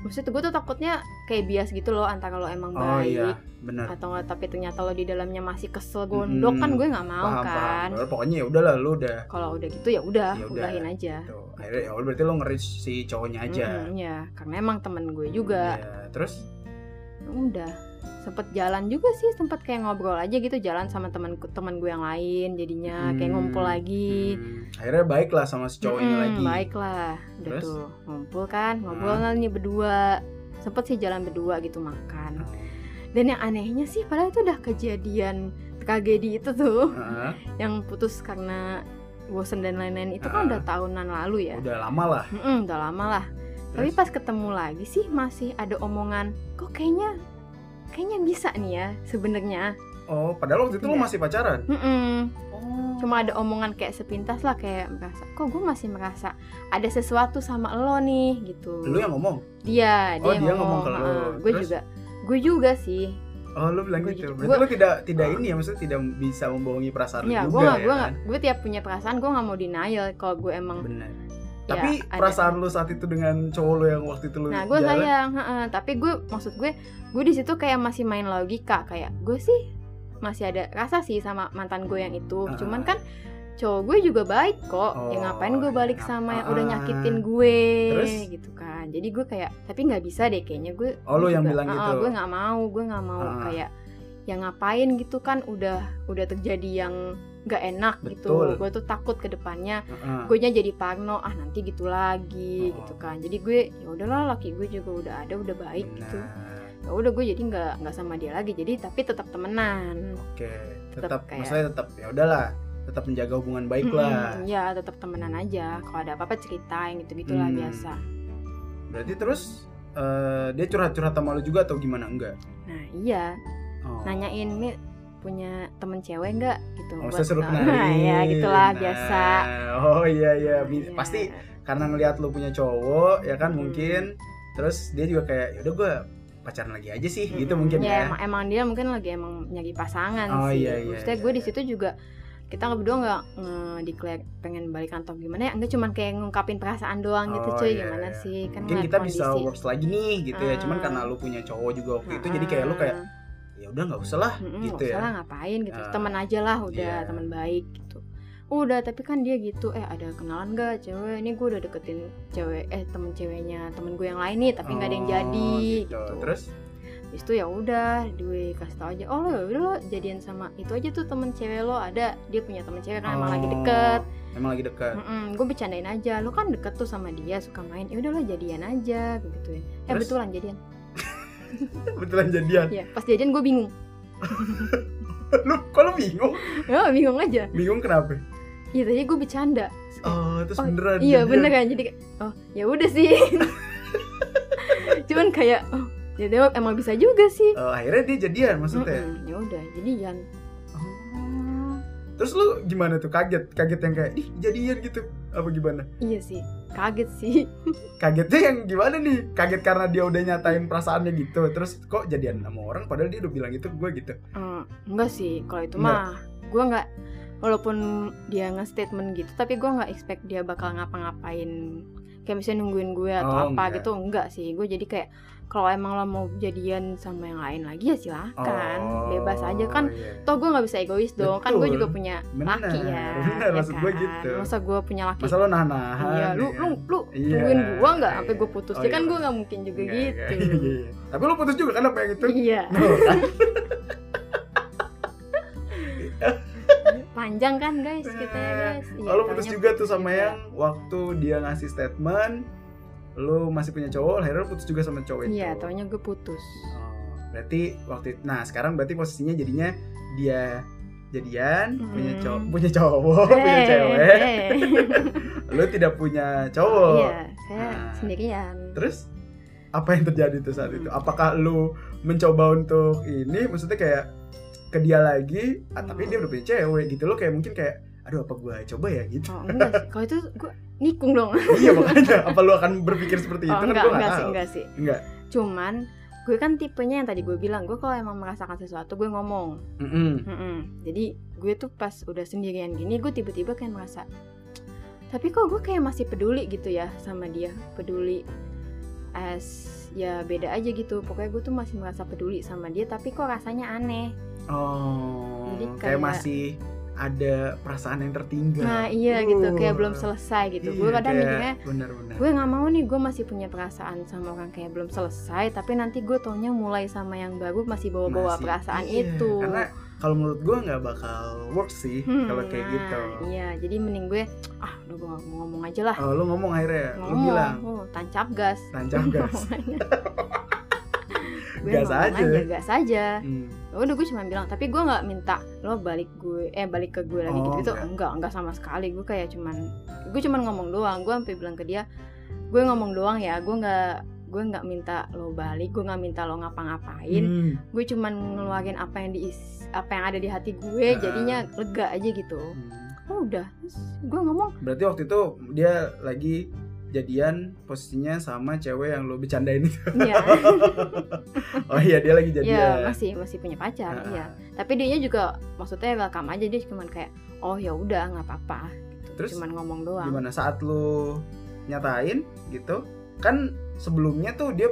A: maksudnya gue tuh takutnya kayak bias gitu loh antara lo emang
B: Oh
A: baik
B: iya bener
A: atau nggak tapi ternyata lo di dalamnya masih kesel gondok
B: Mm-mm.
A: kan gue nggak mau
B: Paham
A: kan
B: paham Oh, Pokoknya ya udahlah lo udah
A: kalau udah gitu ya udah
B: Ya udah.
A: udahin aja
B: gitu. Akhirnya ya udah, berarti lo nge-reach si cowoknya aja
A: Mm, ya karena emang temen gue juga
B: Iya, Terus
A: udah sempet jalan juga sih sempet kayak ngobrol aja gitu jalan sama temen teman gue yang lain jadinya kayak
B: Hmm,
A: ngumpul lagi
B: hmm, Akhirnya baik lah sama si cowoknya
A: Mm-mm,
B: lagi
A: Baiklah, udah
B: Terus?
A: tuh ngumpul kan, ngobrol
B: Hmm.
A: kan nih berdua. Sempet sih jalan berdua gitu makan.
B: Ah.
A: Dan yang anehnya sih padahal itu udah kejadian tragedi itu tuh
B: Heeh.
A: yang putus karena bosen dan lain-lain itu kan
B: Ah.
A: udah tahunan lalu ya.
B: Udah lama lah
A: Mm-mm, udah lama lah. Tapi
B: Terus?
A: pas ketemu lagi sih masih ada omongan, kok kayaknya kayaknya bisa nih ya sebenarnya.
B: Oh, padahal waktu itu lo
A: Enggak.
B: masih pacaran.
A: Mm-mm.
B: Oh.
A: Cuma ada omongan kayak sepintas lah kayak merasa, kok gue masih merasa ada sesuatu sama lo nih gitu.
B: Lu yang ngomong.
A: dia
B: Oh,
A: dia,
B: dia ngomong ke lo.
A: "Ah, gue
B: Terus?
A: juga gue juga sih
B: Oh, lu bilang
A: Gua
B: gitu.
A: gitu.
B: Berarti
A: Gua-
B: lu tidak tidak ini ya, maksudnya tidak bisa membohongi perasaan lu
A: ya
B: juga
A: gue nggak
B: ya. kan?
A: gue nggak gue tiap punya perasaan gue nggak mau denial kalau gue emang
B: Benar.
A: ya,
B: Tapi
A: ada.
B: perasaan lu saat itu dengan cowok lu yang waktu itu lu
A: nah gue
B: gitu jalan.
A: sayang heeh. tapi gue maksud gue gue di situ kayak masih main logika kayak gue sih masih ada rasa sih sama mantan gue yang itu
B: Ah.
A: cuman kan cowok gue juga baik kok ya
B: Oh,
A: ngapain gue balik
B: ngapa-
A: sama yang udah
B: ah.
A: nyakitin gue
B: Terus?
A: gitu kan jadi gue kayak tapi nggak bisa deh kayaknya gue
B: Oh, lu
A: gue
B: yang
A: juga-
B: bilang
A: Ah,
B: gitu.
A: gue nggak mau gue nggak mau
B: Ah.
A: kayak yang ngapain gitu kan udah udah terjadi yang nggak enak
B: Betul.
A: gitu gue tuh takut ke depannya
B: Heeh.
A: gue jadi parno ah nanti gitu lagi
B: Oh.
A: gitu kan jadi gue ya udahlah laki gue juga udah ada udah
B: Nah,
A: baik gitu ya
B: Benar.
A: udah gue jadi nggak nggak sama dia lagi jadi tapi tetap temenan
B: Oke, tetap,
A: Tetap kayak-
B: maksudnya tetap ya udahlah, tetap menjaga hubungan baik lah.
A: Mm-mm, ya tetap temenan aja kalau ada apa-apa ceritain gitu gitulah
B: Hmm.
A: biasa
B: Berarti terus eh, dia curhat-curhat sama lu juga atau gimana enggak?
A: nah iya
B: Oh.
A: nanyain mi punya temen cewek nggak gitu
B: Oh,
A: buat
B: saya suruh
A: tahu.
B: kenalin.
A: Nah, ya gitulah
B: Nah,
A: biasa
B: Oh iya iya, Bi-
A: Iya.
B: pasti karena ngelihat lu punya cowok ya kan
A: Mm.
B: mungkin terus dia juga kayak yaudah gue pacaran lagi aja sih gitu
A: Mm-mm.
B: mungkin
A: ya,
B: ya.
A: Emang, emang dia mungkin lagi emang nyari pasangan
B: Oh,
A: sih
B: iya, iya,
A: maksudnya
B: iya,
A: gue di
B: iya.
A: situ juga kita berdua nggak nge- declare pengen balikan atau gimana ya enggak cuman kayak ngungkapin perasaan doang gitu
B: Oh,
A: cuy
B: iya,
A: gimana
B: iya.
A: sih kan
B: Mungkin
A: ngeliat
B: kita bisa
A: kondisi.
B: works lagi nih gitu ya. Cuman
A: Ah.
B: karena lu punya cowok juga waktu itu jadi kayak lu
A: Hmm.
B: kayak ya udah nggak usah lah.
A: Ah, Mm-mm,
B: gitu
A: nggak
B: ya.
A: usah lah, ngapain gitu
B: Ah,
A: teman aja lah udah
B: iya.
A: teman baik gitu udah tapi kan dia gitu eh ada kenalan gak cewek ini gue udah deketin cewek eh temen ceweknya temen gue yang lain nih tapi nggak ada yang
B: Oh,
A: jadi gitu,
B: Terus
A: Habis itu ya udah gue kasih tau aja oh lo udah lo jadian sama itu aja tuh temen cewek lo ada dia punya temen cewek kan emang lagi
B: Oh,
A: deket
B: Emang lagi dekat.
A: gue bercandain aja lo kan deket tuh sama dia suka main ya udah lo jadian aja gue gituin eh
B: Terus?
A: betulan jadian
B: Betulan jadian.
A: ya pas jadian gue bingung
B: lu kok lu bingung?
A: ya bingung aja
B: Bingung kenapa?
A: iya tadi gue bercanda
B: Oh, terus
A: Oh,
B: beneran.
A: iya
B: jadian.
A: bener kan jadi kayak, oh ya udah sih cuman kayak oh ya udah, emang bisa juga sih
B: Eh, akhirnya dia jadian maksudnya.
A: Mm-mm, ya udah jadian
B: Oh. Terus lu gimana tuh kaget? Kaget yang kayak ih jadian gitu. Apa gimana?
A: iya sih kaget sih
B: Kagetnya yang gimana nih? Kaget karena dia udah nyatain perasaannya gitu. Terus kok jadian sama orang padahal dia udah bilang gitu ke gue gitu.
A: Eh, enggak sih kalau itu
B: Enggak.
A: mah gue nggak walaupun dia nge-statement gitu tapi gue nggak expect dia bakal ngapa-ngapain kayak misalnya nungguin gue atau apa
B: Oh, enggak.
A: gitu enggak sih gue jadi kayak kalau emang lo mau jadian sama yang lain lagi ya silahkan bebas aja kan
B: Oh, iya.
A: toh gue nggak bisa egois dong kan gue
B: Betul.
A: juga punya
B: Benar,
A: laki ya
B: benar,
A: ya
B: maksud gue gitu.
A: masa gue punya laki
B: Masa lo nahan-nahan.
A: iya lu
B: ya
A: lu
B: kan?
A: lu
B: Iya,
A: tungguin gue nggak sampai
B: iya.
A: gue putus ya
B: Oh, iya,
A: kan gue
B: bener.
A: nggak mungkin juga
B: Enggak, enggak.
A: gitu
B: Iya, iya. Tapi lu putus juga kan apa yang itu?
A: iya
B: Tuh, kan?
A: panjang kan guys kita ya guys Iya,
B: Lalu Eh, oh, putus
A: taunya
B: juga tuh sama ya? yang waktu dia ngasih statement lu masih punya cowok, akhirnya lu putus juga sama cowok itu.
A: iya taunya gue putus
B: Oh, berarti waktu nah sekarang berarti posisinya jadinya dia jadian
A: Hmm.
B: punya cowok punya cowok Oh, punya
A: Eh,
B: cewek Oh.
A: eh.
B: lu tidak punya cowok
A: iya saya
B: Nah.
A: sendirian
B: terus apa yang terjadi tuh saat itu apakah lu mencoba untuk ini maksudnya kayak ke dia lagi ah, tapi
A: Hmm.
B: dia udah punya cewek gitu lo kayak mungkin kayak aduh apa gua coba ya gitu
A: oh enggak sih kalau itu gue nikung dong
B: iya makanya apa lu akan berpikir seperti itu
A: oh,
B: kan
A: enggak,
B: gua
A: enggak
B: nggak
A: sih,
B: tahu
A: enggak sih.
B: Enggak.
A: Cuman gue kan tipenya yang tadi gue bilang, gue kalau emang merasakan sesuatu gue ngomong.
B: Mm-mm.
A: Mm-mm. Jadi gue tuh pas udah sendirian gini, gue tiba-tiba kayak merasa, tapi kok gue kayak masih peduli gitu ya sama dia, peduli as ya beda aja gitu. Pokoknya gue tuh masih merasa peduli sama dia, tapi kok rasanya aneh.
B: oh
A: Jadi
B: kayak,
A: kayak-
B: masih ada perasaan yang tertinggal
A: Nah iya gitu, kayak belum
B: Uh.
A: selesai gitu.
B: Iya,
A: gue kadang
B: kayak
A: mikirnya
B: benar-benar.
A: gue nggak mau nih gue masih punya perasaan sama orang kayak belum selesai tapi nanti gue taunya mulai sama yang baru masih bawa-bawa
B: Masih.
A: perasaan
B: Iya,
A: itu
B: Karena kalau menurut gue nggak bakal work sih
A: Hmm,
B: kalau kayak
A: nah,
B: gitu.
A: iya jadi mending gue ah udah gue nggak mau ngomong aja lah
B: Oh, lu ngomong akhirnya, lu
A: ngomong
B: bilang
A: oh, tancap gas
B: tancap gas.
A: gue
B: Gas
A: ngomong
B: aja.
A: gas aja Ya
B: Hmm.
A: udah gue cuma bilang tapi gue nggak minta lo balik gue eh balik ke gue lagi
B: Oh,
A: gitu gitu
B: enggak.
A: enggak enggak sama sekali gue kayak cuman gue cuman ngomong doang gue sampai bilang ke dia gue ngomong doang ya gue nggak gue nggak minta lo balik gue nggak minta lo ngapa-ngapain
B: Hmm.
A: gue cuman ngeluarin apa yang di apa yang ada di hati gue
B: Ah.
A: jadinya lega aja gitu
B: Hmm.
A: oh, udah Terus gue ngomong
B: Berarti waktu itu dia lagi jadian posisinya sama cewek yang lu bercandain itu.
A: ya
B: Oh iya, dia lagi
A: ya
B: jadian.
A: masih masih punya pacar
B: Ah,
A: iya tapi dia juga maksudnya welcome aja dia cuman kayak oh ya udah nggak apa-apa gitu.
B: Terus
A: cuman ngomong doang
B: Gimana saat lu nyatain gitu? Kan sebelumnya tuh dia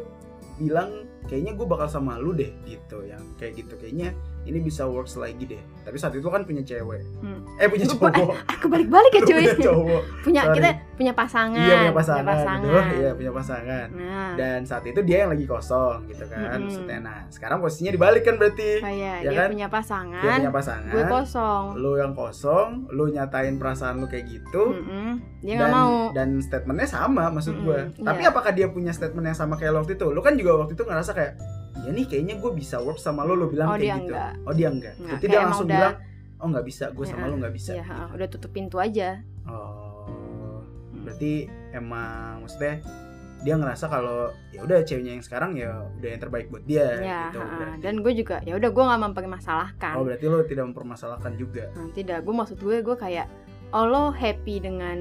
B: bilang kayaknya gue bakal sama lu deh gitu yang kayak gitu kayaknya ini bisa works lagi deh tapi saat itu kan punya cewek
A: Hmm.
B: eh punya
A: Lupa,
B: cowok
A: ah kebalik-balik ya cuy
B: punya cowok
A: punya Ya,
B: Sorry.
A: kita punya pasangan
B: iya punya pasangan, gitu. iya
A: pasangan.
B: punya pasangan
A: nah
B: dan saat itu dia yang lagi kosong gitu kan
A: Mm-mm.
B: maksudnya nah sekarang posisinya dibalik kan berarti
A: kayak
B: Ya
A: dia
B: kan?
A: punya pasangan
B: dia punya pasangan
A: gue kosong
B: lu yang kosong lu nyatain perasaan lu kayak gitu
A: Mm-mm. Mm, dia
B: dan
A: nggak mau
B: dan statementnya sama maksud
A: Mm-mm,
B: gue
A: iya.
B: tapi apakah dia punya statement yang sama kayak lo waktu itu lu kan juga waktu itu ngerasa kayak iya nih kayaknya gue bisa work sama lo lu bilang
A: Oh, dia
B: kayak gitu
A: enggak.
B: oh dia enggak
A: Enggak,
B: berarti
A: kayak
B: dia
A: emang
B: langsung
A: udah-
B: bilang oh nggak bisa gue sama
A: Ya,
B: lu nggak bisa
A: ya ha, udah tutup pintu aja
B: oh berarti emang maksudnya dia ngerasa kalau ya udah ceweknya yang sekarang ya udah yang terbaik buat dia
A: ya
B: gitu.
A: ha-ha.
B: Berarti-
A: dan gue juga ya udah gue nggak mempermasalahkan
B: oh berarti lo tidak mempermasalahkan juga.
A: Nah, tidak gue maksud gue gue kayak oh lo happy dengan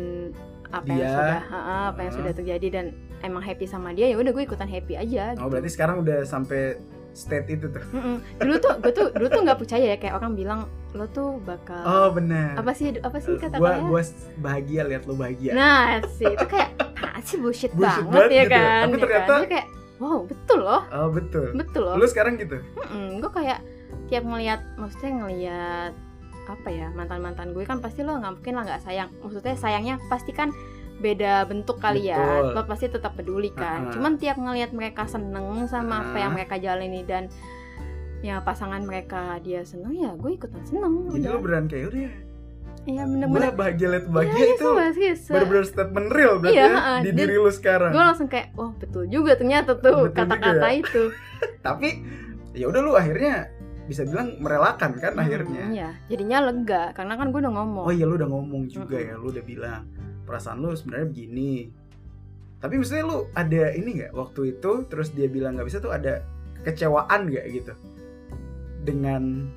A: apa yang
B: Dia.
A: sudah ha-ha, apa yang
B: Hmm.
A: sudah terjadi dan emang happy sama dia ya udah gue ikutan happy aja
B: Oh
A: gitu.
B: berarti sekarang udah sampai state itu tuh.
A: Mm-mm. dulu tuh gue tuh dulu tuh nggak percaya ya kayak orang bilang lo tuh bakal
B: Oh benar. Eh,
A: apa sih apa sih kata
B: gua
A: kalian
B: gua bahagia lihat lo bahagia.
A: nah sih itu kayak ah sih bullshit,
B: Bullshit
A: banget, ya kan
B: banget gitu ya. Tapi
A: ya kan?
B: ternyata-
A: Dia kayak wow betul loh
B: Oh betul.
A: betul loh
B: Lo sekarang gitu.
A: gue Hmm, kayak tiap ngelihat maksudnya ngelihat apa ya mantan mantan gue kan pasti lo nggak mungkin lah nggak sayang maksudnya sayangnya pasti kan beda bentuk kali ya
B: Betul.
A: lo pasti tetap peduli kan
B: Ah.
A: cuman tiap ngelihat mereka seneng sama apa
B: Ah.
A: yang mereka jalani dan ya pasangan mereka dia seneng ya gue ikutan seneng
B: Jadi lo
A: udah.
B: beran kayak udah.
A: iya
B: Gua
A: bener-bener
B: bahagia lihat
A: Iya,
B: bahagia
A: iya,
B: itu
A: sumpah sih, se-
B: benar-benar statement real berarti
A: Iya,
B: ya,
A: ha-ha.
B: di
A: Dan-
B: diri lo sekarang.
A: gue langsung kayak wah betul juga ternyata tuh
B: Betul juga
A: kata-kata
B: ya.
A: itu
B: Tapi ya udah lo akhirnya bisa bilang merelakan kan akhirnya.
A: Hmm, iya jadinya lega karena kan gue udah ngomong
B: oh iya lu udah ngomong juga
A: Mm-mm.
B: ya lu udah bilang perasaan lu sebenarnya begini tapi misalnya lu ada ini nggak waktu itu terus dia bilang nggak bisa tuh ada kecewaan nggak gitu dengan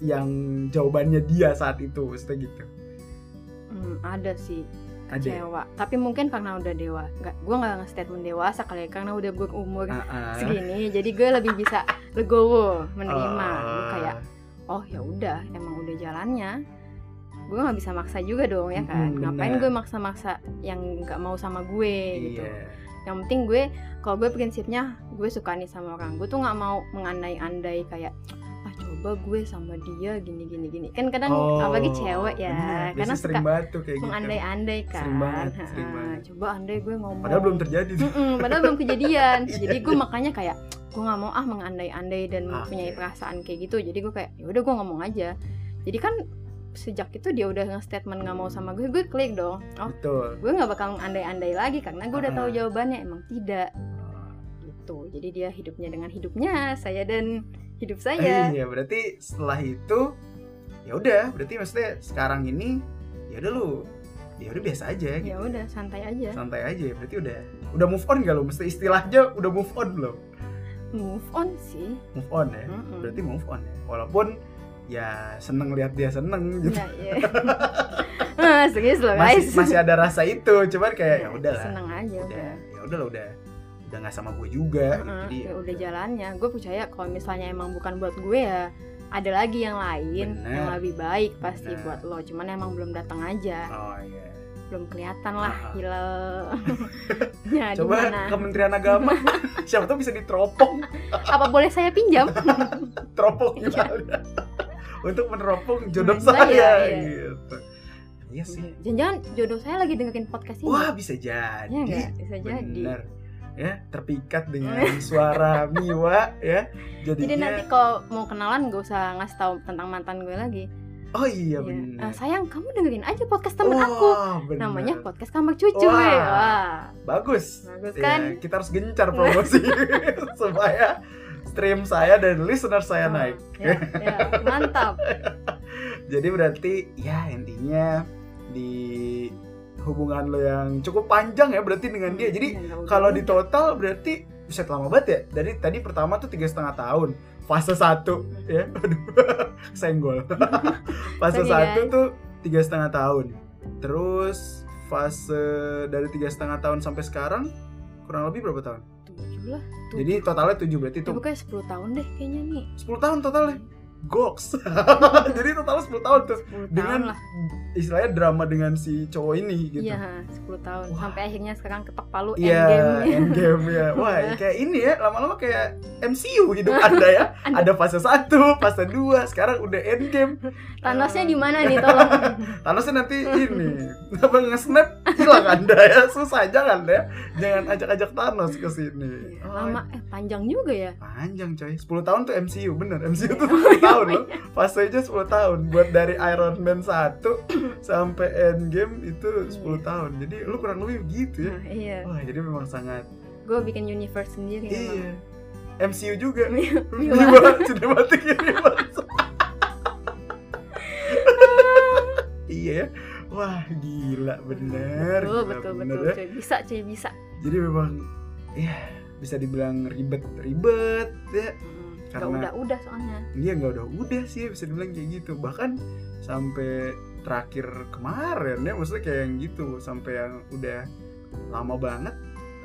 B: yang jawabannya dia saat itu maksudnya gitu
A: Hmm, ada sih
B: ada ya?
A: kecewa tapi mungkin karena udah dewa nggak gue nggak nge-statement dewasa kali ya karena udah berumur
B: Ah, ah.
A: segini jadi gue lebih bisa legowo menerima gue
B: Ah.
A: kayak oh ya udah emang udah jalannya gue nggak bisa maksa juga dong ya kan
B: Mm-mm,
A: ngapain
B: Hmm, benar.
A: gue maksa-maksa yang nggak mau sama gue gitu
B: Iya.
A: yang penting gue kalau gue prinsipnya gue suka nih sama orang gue tuh nggak mau mengandai-andai kayak ah coba gue sama dia gini gini gini kan kadang
B: Oh,
A: apalagi cewek ya
B: bener. Biasanya
A: karena suka
B: sering banget tuh kayak gitu
A: mengandai-andai kan
B: Sering banget, sering
A: Ha,
B: banget.
A: coba andai gue ngomong
B: padahal belum terjadi tuh.
A: Mm-mm, padahal belum kejadian
B: Iya, Ah,
A: jadi gue makanya kayak gue nggak mau ah mengandai-andai dan
B: Oke.
A: mempunyai perasaan kayak gitu jadi gue kayak yaudah gue ngomong aja jadi kan sejak itu dia udah nge-statement nggak mau sama gue gue klik dong oh
B: betul
A: gue nggak bakal mengandai-andai lagi karena gue udah tahu
B: Ah.
A: jawabannya emang tidak gitu jadi dia hidupnya dengan hidupnya saya dan hidup saya
B: Iya, berarti setelah itu ya udah, berarti maksudnya sekarang ini ya udah lu ya udah biasa aja gitu.
A: ya udah santai aja
B: Santai aja, berarti udah udah move on gak lo? Mesti istilahnya udah move on belum?
A: move on sih
B: Move on ya.
A: Mm-mm.
B: Berarti move on ya. Walaupun ya seneng lihat dia seneng gitu.
A: Nah, iya. Ah, serius loh guys.
B: Masih masih ada rasa itu, cuman kayak ya udahlah.
A: Seneng aja
B: Udah,
A: udah.
B: ya udah lah udah udah nggak sama gue juga gitu,
A: Heeh,
B: jadi
A: ya udah jalannya. Gue percaya kalau misalnya emang bukan buat gue ya ada lagi yang lain
B: Bener.
A: yang lebih baik pasti
B: Bener.
A: buat lo. Cuman emang belum datang aja,
B: oh iya
A: belum kelihatan lah
B: Ah.
A: hilalnya di
B: coba
A: mana.
B: kementerian agama siapa tuh bisa diteropong
A: Apa boleh saya pinjam?
B: teropong
A: Iya.
B: juga ada. untuk meneropong jodoh
A: Nah,
B: saya
A: iya, iya.
B: gitu iya sih
A: Jangan-jangan jodoh saya lagi dengerin podcast ini.
B: wah bisa
A: ya
B: jadi
A: enggak Iya. bisa jadi. Iya.
B: bener ya terpikat dengan suara Miwa ya
A: Jadi
B: jadinya
A: nanti kalau mau kenalan gak usah ngasih tahu tentang mantan gue lagi.
B: oh iya Oh,
A: Iya. Ah,
B: benar
A: sayang, kamu dengerin aja podcast temen aku. namanya podcast kamar cucu
B: Wah.
A: ya. Wah.
B: bagus
A: Bagus
B: Ya,
A: kan?
B: kita harus gencar promosi supaya stream saya dan listener saya
A: Ah,
B: naik
A: ya, ya. mantap
B: Jadi berarti ya intinya di hubungan lo yang cukup panjang ya berarti dengan dia. Jadi
A: Ya, nggak udah.
B: kalau di total berarti bisa lama banget ya. Dari tadi pertama tuh tiga setengah tahun. Fase satu ya, aduh senggol.
A: Sorry,
B: fase satu
A: guys.
B: tuh tiga setengah tahun. Terus fase dari tiga setengah tahun sampai sekarang kurang lebih berapa tahun?
A: Iya, tujuh lah Tujuh.
B: Jadi totalnya tujuh berarti
A: itu
B: tuh
A: kayak 10 tahun deh kayaknya nih
B: 10 tahun totalnya. Goks. Jadi totalnya 10 tahun tuh
A: 10 tahun
B: dengan
A: lah
B: istilahnya drama dengan si cowok ini gitu.
A: iya 10 tahun
B: Wah.
A: sampai akhirnya sekarang ketok palu
B: Iya,
A: endgame
B: endgame ya. Wah, kayak ini ya, lama-lama kayak MCU hidup Anda ya. Ada fase 1, fase 2, sekarang udah endgame.
A: Thanosnya di mana nih tolong
B: Thanosnya nanti ini, apa nge-snap hilang Anda ya. Susah jangan ya. Jangan ajak-ajak Thanos ke sini.
A: Iya,
B: Oh,
A: lama eh panjang juga ya
B: Panjang coy, 10 tahun tuh MCU, bener
A: Iya.
B: MCU tuh 10 tahun loh Fasenya 10 tahun, buat dari Iron Man 1 sampai Endgame itu 10
A: Iya.
B: tahun Jadi lu kurang lebih begitu ya
A: Nah, iya
B: Wah jadi memang sangat
A: gue bikin universe sendiri emang.
B: Iya. MCU juga.
A: Miwa.
B: Miwa Cinematic Universe. iya ya. Wah, gila bener.
A: betul
B: gila,
A: betul
B: bener
A: betul
B: ya.
A: cuy. bisa cuy bisa
B: Jadi memang ya, bisa dibilang ribet-ribet ya
A: Mm-mm. Gak
B: Karena-
A: Hmm, udah-udah soalnya.
B: dia Iya, nggak udah udah sih bisa dibilang kayak gitu bahkan sampai terakhir kemarin ya maksudnya kayak yang gitu sampai yang udah lama banget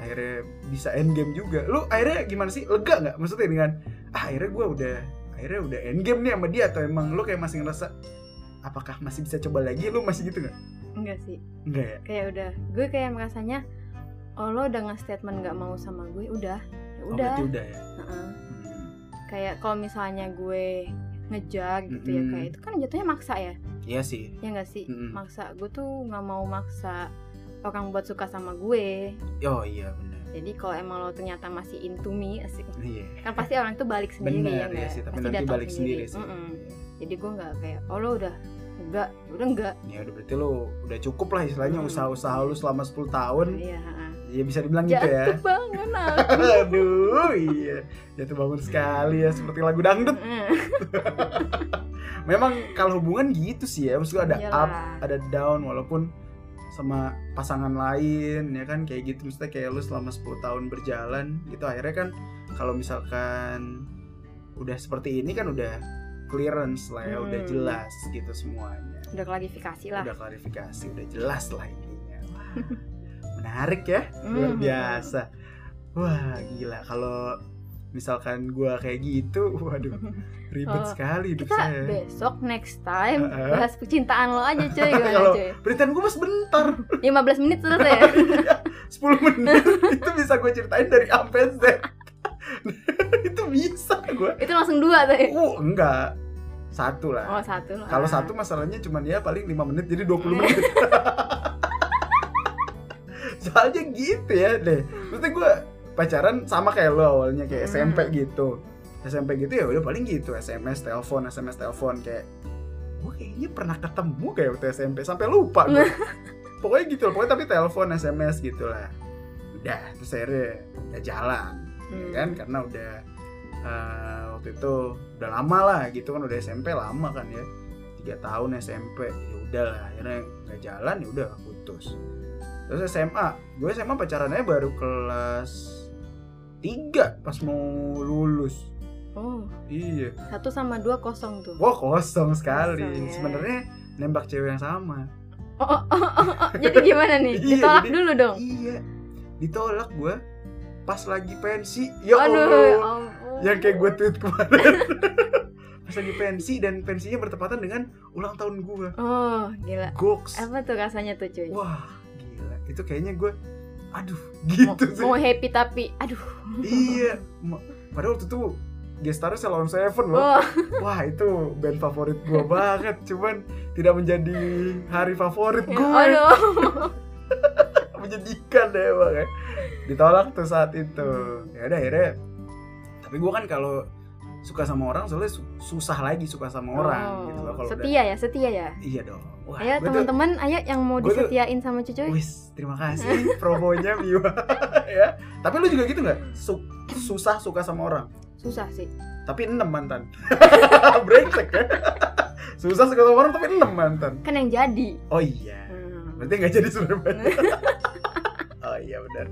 B: akhirnya bisa end game juga lu akhirnya gimana sih lega nggak maksudnya dengan ah, akhirnya gue udah akhirnya udah end game nih sama dia atau emang lu kayak masih ngerasa apakah masih bisa coba lagi lu masih gitu nggak
A: Enggak sih.
B: nggak ya
A: Kayak udah. Gue kayak merasanya oh lo udah nge-statement gak mau sama gue, udah. Ya
B: Oh,
A: udah.
B: berarti udah ya
A: Heeh.
B: Hmm.
A: Kayak kalau misalnya gue ngejar gitu ya
B: Mm-mm.
A: kayak itu kan jatuhnya maksa ya.
B: iya sih
A: Ya enggak sih?
B: Mm-mm.
A: Maksa gue tuh nggak mau maksa orang buat suka sama gue.
B: oh iya benar
A: Jadi kalau emang lo ternyata masih into me asik
B: iya
A: kan pasti orang itu balik sendiri ya
B: benar ya
A: nggak?
B: sih tapi
A: Pasti
B: nanti
A: datang
B: balik sendiri, sih Iya.
A: Mm-mm. jadi gue nggak kayak oh lo udah enggak udah enggak
B: ya udah berarti lu udah cukup lah istilahnya
A: Hmm.
B: usaha-usaha lu selama 10 tahun
A: iya ha-ha.
B: ya bisa dibilang gitu ya
A: jatuh banget aku
B: aduh iya jatuh bangun sekali ya seperti lagu dangdut
A: Mm.
B: memang kalau hubungan gitu sih ya maksudnya ada
A: Iyalah.
B: up ada down walaupun sama pasangan lain ya kan kayak gitu maksudnya kayak lu selama 10 tahun berjalan gitu akhirnya kan kalau misalkan udah seperti ini kan udah clearance lah ya udah
A: Hmm.
B: jelas gitu semuanya
A: udah klarifikasi lah
B: udah klarifikasi udah jelas lah intinya Wah, menarik ya
A: Mm.
B: luar biasa wah gila kalau misalkan gua kayak gitu waduh ribet
A: Oh,
B: sekali hidup
A: kita
B: saya
A: besok next time
B: Heeh.
A: bahas percintaan lo aja cuy gimana
B: Kalau-
A: cuy
B: Beritain gue mas bentar
A: 15 menit selesai ya
B: 10 menit Itu bisa gue ceritain dari A sampai Z Itu bisa gue
A: itu langsung dua tuh
B: Uh enggak Satu
A: Eh. oh
B: lah
A: satu lah
B: Kalau satu masalahnya cuman ya paling 5 menit jadi 20 menit Soalnya gitu ya deh Maksudnya gue pacaran sama kayak lo awalnya kayak
A: Hmm.
B: SMP gitu SMP gitu ya udah paling gitu SMS telepon SMS telepon kayak gue kayaknya pernah ketemu kayak waktu SMP sampai lupa gue pokoknya gitu loh pokoknya tapi telepon SMS gitu lah udah terus akhirnya udah jalan ya
A: Hmm.
B: kan karena udah eh, waktu itu udah lama lah gitu kan udah SMP lama kan ya tiga tahun SMP ya udah lah akhirnya nggak jalan ya udah putus terus SMA gue SMA pacarannya baru kelas tiga pas mau lulus
A: oh
B: iya
A: satu sama dua kosong tuh
B: Wah kosong sekali.
A: Kosong, ya.
B: Sebenarnya nembak cewek yang sama.
A: oh, oh, oh, oh, oh. jadi gimana nih
B: Iya,
A: ditolak
B: jadi-
A: dulu dong
B: Iya. Ditolak gue pas lagi pensi. Ya
A: aduh
B: Allah.
A: ampun.
B: Yang kayak gue tweet kemarin. pas lagi pensi dan pensinya bertepatan dengan ulang tahun gue.
A: oh gila
B: Goks.
A: apa tuh rasanya tuh cuy
B: Wah gila. Itu kayaknya gue. Aduh
A: mau,
B: gitu sih.
A: mau happy tapi aduh
B: iya. Ma- Padahal waktu itu gestarnya Salon Seven loh.
A: oh,
B: Wah itu band favorit gue banget. Cuman tidak menjadi hari
A: Oh,
B: favorit gue.
A: Ya, aduh
B: menjadikan deh emang ya. ditolak tuh saat itu ya udah akhirnya tapi gua kan kalau suka sama orang soalnya su- susah lagi suka sama orang
A: Oh,
B: gitu loh kalau udah-
A: setia ya setia ya
B: iya dong wah
A: ayo
B: gua tuh-
A: teman-teman ayo yang mau
B: gua tuh-
A: disetiain sama cucu
B: wis terima kasih promonya Miwa ya tapi lu juga gitu nggak Su- susah suka sama orang
A: susah sih
B: tapi enam mantan brengsek ya susah suka sama orang tapi enam mantan
A: kan yang jadi
B: oh iya
A: Hmm.
B: Berarti nggak jadi Surabaya. oh iya benar.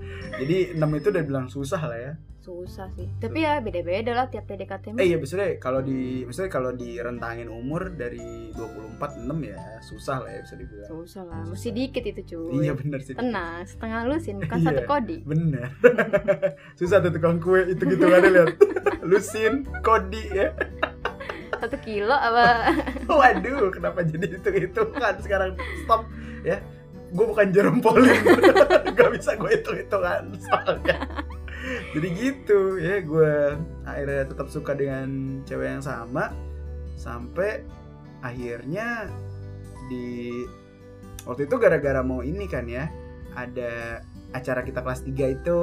B: Jadi 6 itu udah bilang susah lah ya.
A: susah sih tapi ya beda-beda lah tiap PDKT mah.
B: Eh iya maksudnya kalau di maksudnya kalau direntangin umur dari 24 6 ya susah lah ya bisa dibilang.
A: susah lah mesti dikit itu cuy
B: Iya benar sih.
A: tenang setengah lusin bukan
B: Iya.
A: satu kodi
B: Bener. susah tuh tukang kue itu gitu ada lihat. Lusin, Kodi ya.
A: satu kilo apa
B: Waduh, kenapa jadi itu itu kan sekarang stop ya. Gue bukan jerem polling, gak bisa gue hitung hitungan soalnya. Jadi gitu ya, gue akhirnya tetap suka dengan cewek yang sama sampai akhirnya di waktu itu gara-gara mau ini kan ya ada acara kita kelas 3 itu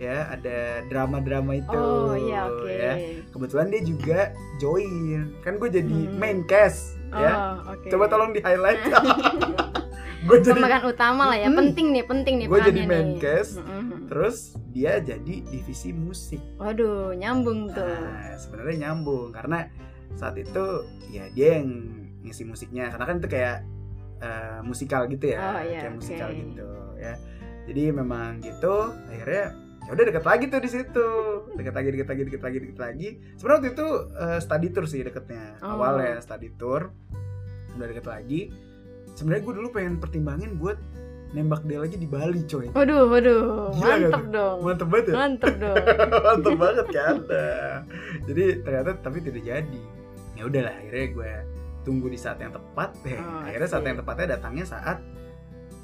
B: ya ada drama-drama itu
A: oh iya oke
B: ya kebetulan dia juga join kan gue jadi
A: Hmm.
B: main cast
A: oh
B: ya
A: oke
B: coba tolong di highlight gue jadi
A: pemeran utama lah ya
B: Mm-mm.
A: penting nih penting nih
B: Hmm. Gua jadi
A: perannya
B: main
A: nih.
B: cast.
A: Mm-mm.
B: terus dia jadi divisi musik
A: waduh nyambung tuh
B: nah, sebenarnya nyambung karena saat itu ya dia yang ngisi musiknya karena kan itu kayak eh, musikal gitu ya
A: Oh, iya,
B: kayak musikal
A: oke.
B: gitu ya jadi memang gitu akhirnya ya udah deket lagi tuh di situ deket lagi deket lagi deket lagi deket lagi sebenarnya waktu itu eh, study tour sih deketnya
A: Oh.
B: awalnya study tour udah deket lagi sebenarnya gue dulu pengen pertimbangin buat nembak dia lagi di Bali coy
A: Waduh, waduh,
B: Gila
A: mantep dong,
B: mantep banget ya
A: mantep dong.
B: mantep banget kan Nah, jadi ternyata tapi tidak jadi ya udahlah akhirnya gue tunggu di saat yang tepat Eh,
A: Oh,
B: akhirnya saat
A: asik.
B: yang tepatnya datangnya saat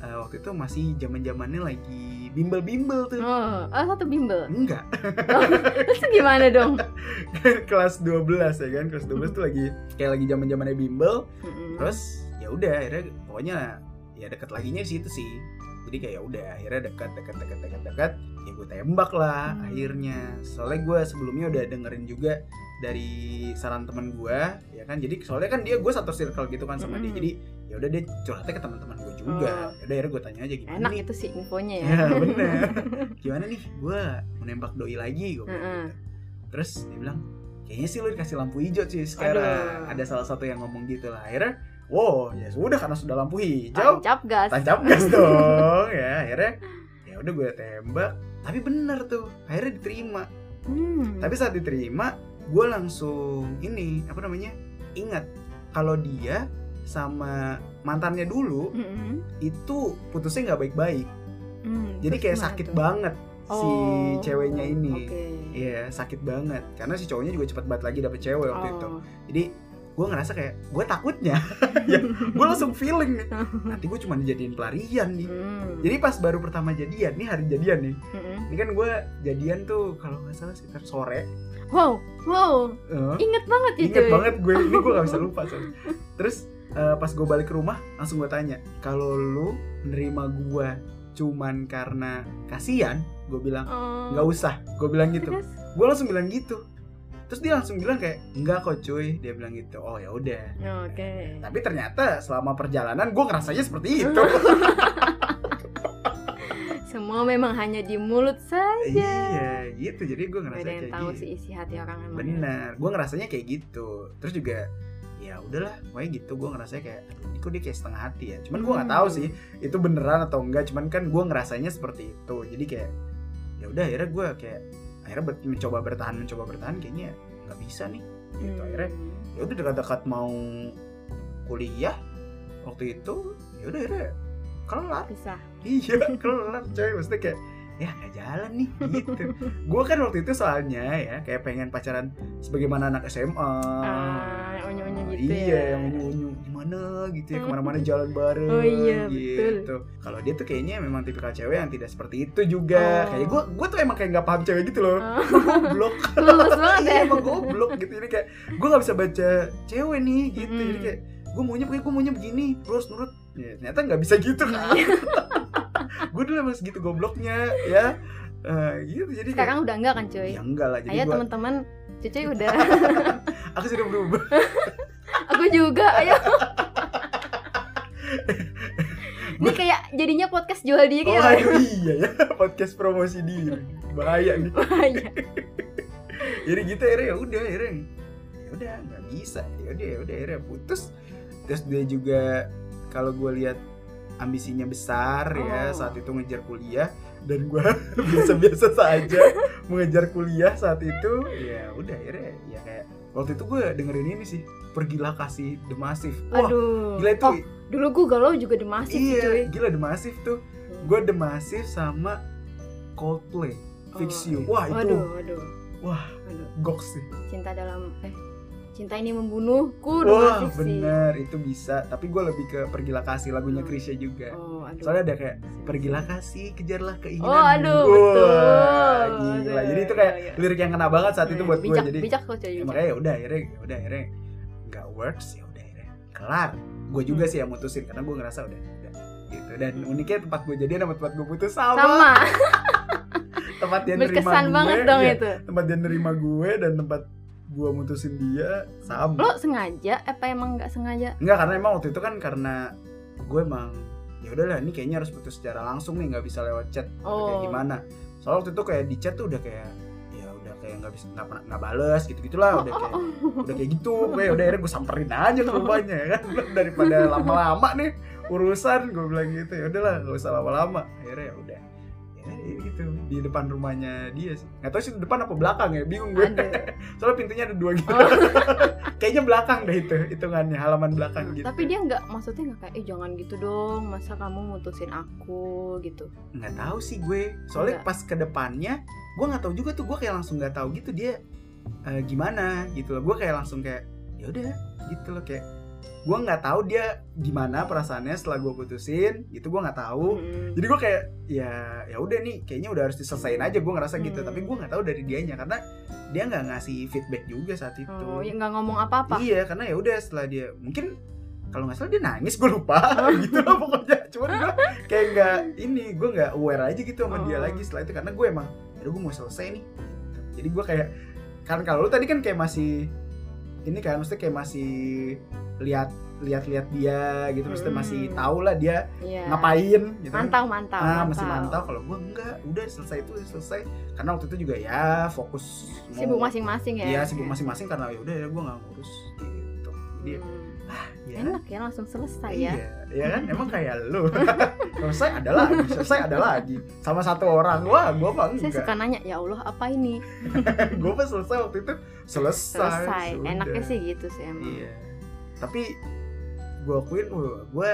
B: eh, waktu itu masih zaman zamannya lagi bimbel bimbel tuh
A: Oh, oh, satu bimbel. Oh,
B: enggak
A: Terus gimana dong?
B: kelas 12 ya kan kelas 12 tuh lagi kayak lagi zaman zamannya bimbel
A: Mm-mm.
B: terus ya udah akhirnya pokoknya ya deket laginya di situ sih jadi kayak ya udah akhirnya dekat dekat dekat dekat dekat ya gue tembak lah
A: Hmm.
B: akhirnya soalnya gue sebelumnya udah dengerin juga dari saran teman gue ya kan jadi soalnya kan dia gue satu circle gitu kan sama dia
A: Mm-mm.
B: jadi ya udah dia curhatnya ke teman-teman gue juga
A: Hmm. Oh.
B: ya udah akhirnya gue tanya aja gimana
A: Enak
B: nih
A: itu sih infonya ya.
B: ya bener gimana nih gue menembak doi lagi gue bilang
A: Heeh.
B: gitu. terus dia bilang kayaknya sih lu dikasih lampu hijau sih sekarang
A: Aduh.
B: ada salah satu yang ngomong gitu lah akhirnya wow ya sudah karena sudah lampu hijau
A: Tancap gas.
B: tancap gas dong ya akhirnya ya udah gue tembak tapi bener tuh akhirnya diterima
A: Hmm.
B: tapi saat diterima gue langsung ini apa namanya ingat kalau dia sama mantannya dulu
A: Mm-mm.
B: itu putusnya nggak baik-baik
A: Hmm,
B: jadi
A: terus
B: kayak
A: gimana
B: sakit
A: tuh?
B: banget si
A: Oh,
B: ceweknya ini
A: Oke.
B: Iya sakit banget karena si cowoknya juga cepet banget lagi dapet cewek waktu itu.
A: Oh.
B: Jadi gue ngerasa kayak gue takutnya, ya gue langsung feeling nih. Nanti gue cuma dijadiin pelarian nih.
A: Hmm.
B: Jadi pas baru pertama jadian nih hari jadian nih.
A: Mm-mm.
B: Ini kan gue jadian tuh kalau nggak salah sekitar sore.
A: Wow, wow,
B: Eh,
A: inget banget ya
B: Ingat
A: cuy.
B: banget gue ini gue gak bisa lupa. soalnya. Terus eh, pas gue balik ke rumah langsung gue tanya kalau lu nerima gue cuman karena kasihan, gue bilang
A: Oh.
B: nggak usah. Gue bilang gitu.
A: Terus?
B: gue langsung bilang gitu terus dia langsung bilang kayak enggak kok cuy dia bilang gitu oh ya udah
A: Oke.
B: tapi ternyata selama perjalanan gue ngerasanya seperti itu
A: Semua memang hanya di mulut saja.
B: iya gitu jadi gue
A: Gak
B: ngerasa
A: ada yang
B: kayak
A: tahu
B: gitu
A: sih isi hati orang emang.
B: benar gue ngerasanya kayak gitu terus juga ya udahlah pokoknya gitu gue ngerasanya kayak "Aduh, ini kok dia kayak setengah hati ya cuman gue nggak tahu
A: Hmm.
B: sih itu beneran atau enggak cuman kan gue ngerasanya seperti itu jadi kayak ya udah akhirnya gue kayak akhirnya ber- mencoba bertahan mencoba bertahan kayaknya nggak bisa nih gitu
A: Hmm.
B: akhirnya ya udah dekat-dekat mau kuliah waktu itu ya udah akhirnya kelar
A: Pisah.
B: iya kelar coy maksudnya kayak ya nggak jalan nih gitu gue kan waktu itu soalnya ya kayak pengen pacaran sebagaimana anak SMA
A: Ah, unyu-unyu gitu
B: Oh. iya
A: ya. Hmm.
B: yang unyu gimana gitu ya kemana-mana jalan bareng
A: Oh iya,
B: gitu kalau dia tuh kayaknya memang tipikal cewek yang tidak seperti itu juga
A: Oh.
B: kayak gue gue tuh emang kayak nggak paham cewek gitu loh
A: Oh.
B: goblok
A: Lulus banget
B: Iya,
A: ya.
B: emang goblok gitu jadi kayak gue nggak bisa baca cewek nih gitu jadi
A: Mm.
B: kayak gue maunya kayak gue maunya begini lu harus nurut ya, ternyata nggak bisa gitu kan
A: Iya.
B: gue dulu emang segitu gobloknya ya Eh, gitu jadi
A: Sekarang udah enggak kan
B: kayak,
A: cuy?
B: ya enggak lah jadi
A: Ayo
B: gua,
A: teman-teman, cucu udah.
B: aku sudah berubah
A: Aku juga, ayo. Ini kayak jadinya podcast jual diri
B: oh
A: ya.
B: aduh iya ya podcast promosi diri bahaya nih
A: Bahaya.
B: jadi gitu akhirnya ya udah akhirnya ya udah nggak bisa ya udah ya udah akhirnya putus terus dia juga kalau gue lihat ambisinya besar ya
A: Oh.
B: saat itu ngejar kuliah dan gue biasa-biasa saja mengejar kuliah saat itu ya udah akhirnya ya kayak waktu itu gue dengerin ini sih pergilah kasih The Massive wah
A: Aduh.
B: gila itu
A: Oh, dulu gue galau juga demasif sih,
B: iya
A: cuy.
B: gila The Massive tuh gue The Massive sama Coldplay Fix You
A: Oh,
B: wah
A: iya. Waduh,
B: itu
A: waduh.
B: Wah.
A: Waduh.
B: gok sih
A: Cinta dalam eh cinta ini membunuhku
B: Wah
A: demasif sih.
B: bener itu bisa Tapi gue lebih ke pergilah kasih lagunya
A: Hmm.
B: Krisya juga
A: Oh, aduh.
B: Soalnya ada kayak pergilah kasih kejarlah keinginan
A: Oh, aduh,
B: Wah,
A: betul.
B: Gila
A: Aduh,
B: jadi itu kayak
A: iya, iya.
B: lirik yang kena banget saat itu buat gue
A: bijak,
B: Jadi
A: bijak kok cuy.
B: ya,
A: bijak.
B: makanya ya udah akhirnya ya udah akhirnya nggak works ya udah akhirnya kelar Gue juga
A: Hmm.
B: sih yang mutusin karena gue ngerasa udah udah gitu dan
A: Hmm.
B: uniknya tempat gue jadian sama tempat gue putus sama,
A: Sama,
B: tempat dia nerima
A: berkesan
B: gue,
A: banget dong
B: iya,
A: itu.
B: tempat dia nerima gue dan tempat gue mutusin dia sama
A: Lo sengaja apa emang nggak sengaja?
B: Enggak karena emang waktu itu kan karena gue emang ya udahlah ini kayaknya harus putus secara langsung nih nggak bisa lewat chat atau kayak
A: Oh.
B: gimana. Soalnya waktu itu kayak di chat tuh udah kayak ya udah kayak nggak bisa nggak pernah nggak bales gitu gitulah
A: Oh,
B: udah kayak udah kayak gitu gue udah akhirnya gue samperin aja ke rumahnya ya kan daripada lama-lama nih urusan gue bilang gitu ya udahlah nggak usah lama-lama akhirnya ya udah ya ya gitu di depan rumahnya dia sih nggak tahu sih depan apa belakang ya bingung gue
A: Ada.
B: soalnya pintunya ada dua gitu
A: Oh.
B: kayaknya belakang deh itu hitungannya halaman belakang gitu
A: Tapi dia nggak maksudnya nggak kayak eh jangan gitu dong, masa kamu mutusin aku gitu.
B: nggak tahu sih gue soalnya
A: Nggak.
B: pas ke depannya gue nggak tahu juga tuh gue kayak langsung nggak tahu gitu dia eh, gimana gitu loh gue kayak langsung kayak ya udah gitu loh kayak gue nggak tahu dia gimana perasaannya setelah gue putusin gitu gue nggak tahu
A: Mm-mm.
B: jadi gue kayak ya ya udah nih kayaknya udah harus diselesain aja gue ngerasa gitu
A: Hmm.
B: tapi gue nggak tahu dari dianya karena dia nggak ngasih feedback juga saat itu
A: Oh, ya nggak ngomong apa-apa.
B: Iya, karena ya udah setelah dia mungkin kalau nggak salah dia nangis gue
A: Oh.
B: lupa gitu lah pokoknya. Cuman gue kayak nggak ini gue nggak aware aja gitu sama dia
A: Oh.
B: lagi setelah itu karena gue emang aduh gue mau selesai nih. Jadi gue kayak kan kalau lu tadi kan kayak masih ini kan mesti kayak masih lihat lihat-lihat dia gitu mesti
A: Hmm.
B: masih tahu lah dia
A: Iya.
B: ngapain gitu kan.
A: Mantau, mantau,
B: Ah, masih mantau kalau gue enggak udah selesai itu udah selesai karena waktu itu juga ya fokus mau-
A: Sibuk masing-masing ya.
B: Iya sibuk masing-masing karena ya udah ya gue nggak ngurus gitu. Jadi
A: Hmm.
B: ya,
A: Enak ya langsung selesai ya.
B: Iya, ya kan emang kayak lu. selesai ada lagi, selesai ada lagi. Sama satu orang. Wah, gue mah
A: Saya
B: enggak.
A: suka nanya, ya Allah apa ini?
B: gue mah selesai waktu itu selesai.
A: Selesai.
B: sudah.
A: Enaknya sih gitu sih emang.
B: Iya. Tapi gue akuin gue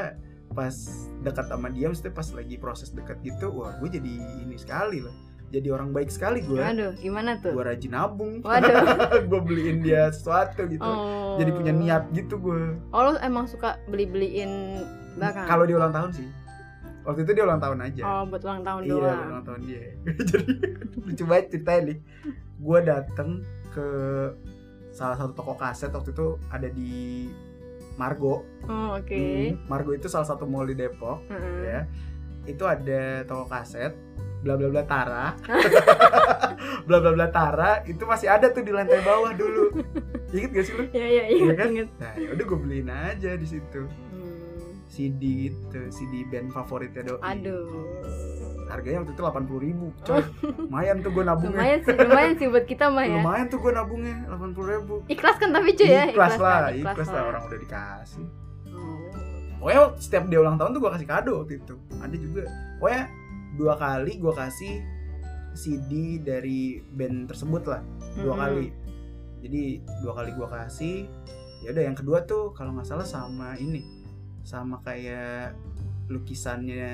B: pas dekat sama dia mesti pas lagi proses dekat gitu, wah gue jadi ini sekali lah. Jadi orang baik sekali gue.
A: Aduh, gimana tuh?
B: Gue rajin nabung,
A: Waduh.
B: gue beliin dia sesuatu gitu.
A: Oh.
B: Jadi punya niat gitu gue.
A: Oh, lo emang suka beli-beliin barang?
B: Hmm, Kalau dia ulang tahun sih. Waktu itu dia ulang tahun aja.
A: Oh, buat ulang tahun
B: iya,
A: doang.
B: ulang tahun dia. Jadi lucu banget ceritanya nih. Gue dateng ke salah satu toko kaset waktu itu ada di Margo.
A: Oh, oke. Hmm.
B: Hmm, Margo itu salah satu mall di Depok
A: Mm-mm.
B: ya. Itu ada toko kaset bla bla bla Tara. bla bla bla Tara itu masih ada tuh di lantai bawah dulu. Ingat gak sih lu?
A: Iya, iya,
B: Iya
A: iya.
B: kan?
A: inget.
B: Nah, ya udah gue beliin aja di situ.
A: Hmm.
B: CD gitu, CD band favoritnya doi.
A: Aduh.
B: Harganya waktu itu 80.000 ribu, coy. Lumayan tuh gue nabungnya.
A: Lumayan sih, lumayan sih buat kita mah ya.
B: Lumayan tuh gue nabungnya 80.000 ribu.
A: Ikhlas kan tapi cuy ya?
B: ikhlas lah, ikhlas lah orang udah dikasih.
A: Oh.
B: Pokoknya waktu- setiap dia ulang tahun tuh gue kasih kado waktu itu. Ada juga, pokoknya dua kali gue kasih CD dari band tersebut lah, dua
A: Mm-mm.
B: kali. Jadi dua kali gue kasih, ya udah yang kedua tuh kalau nggak salah sama ini, sama kayak lukisannya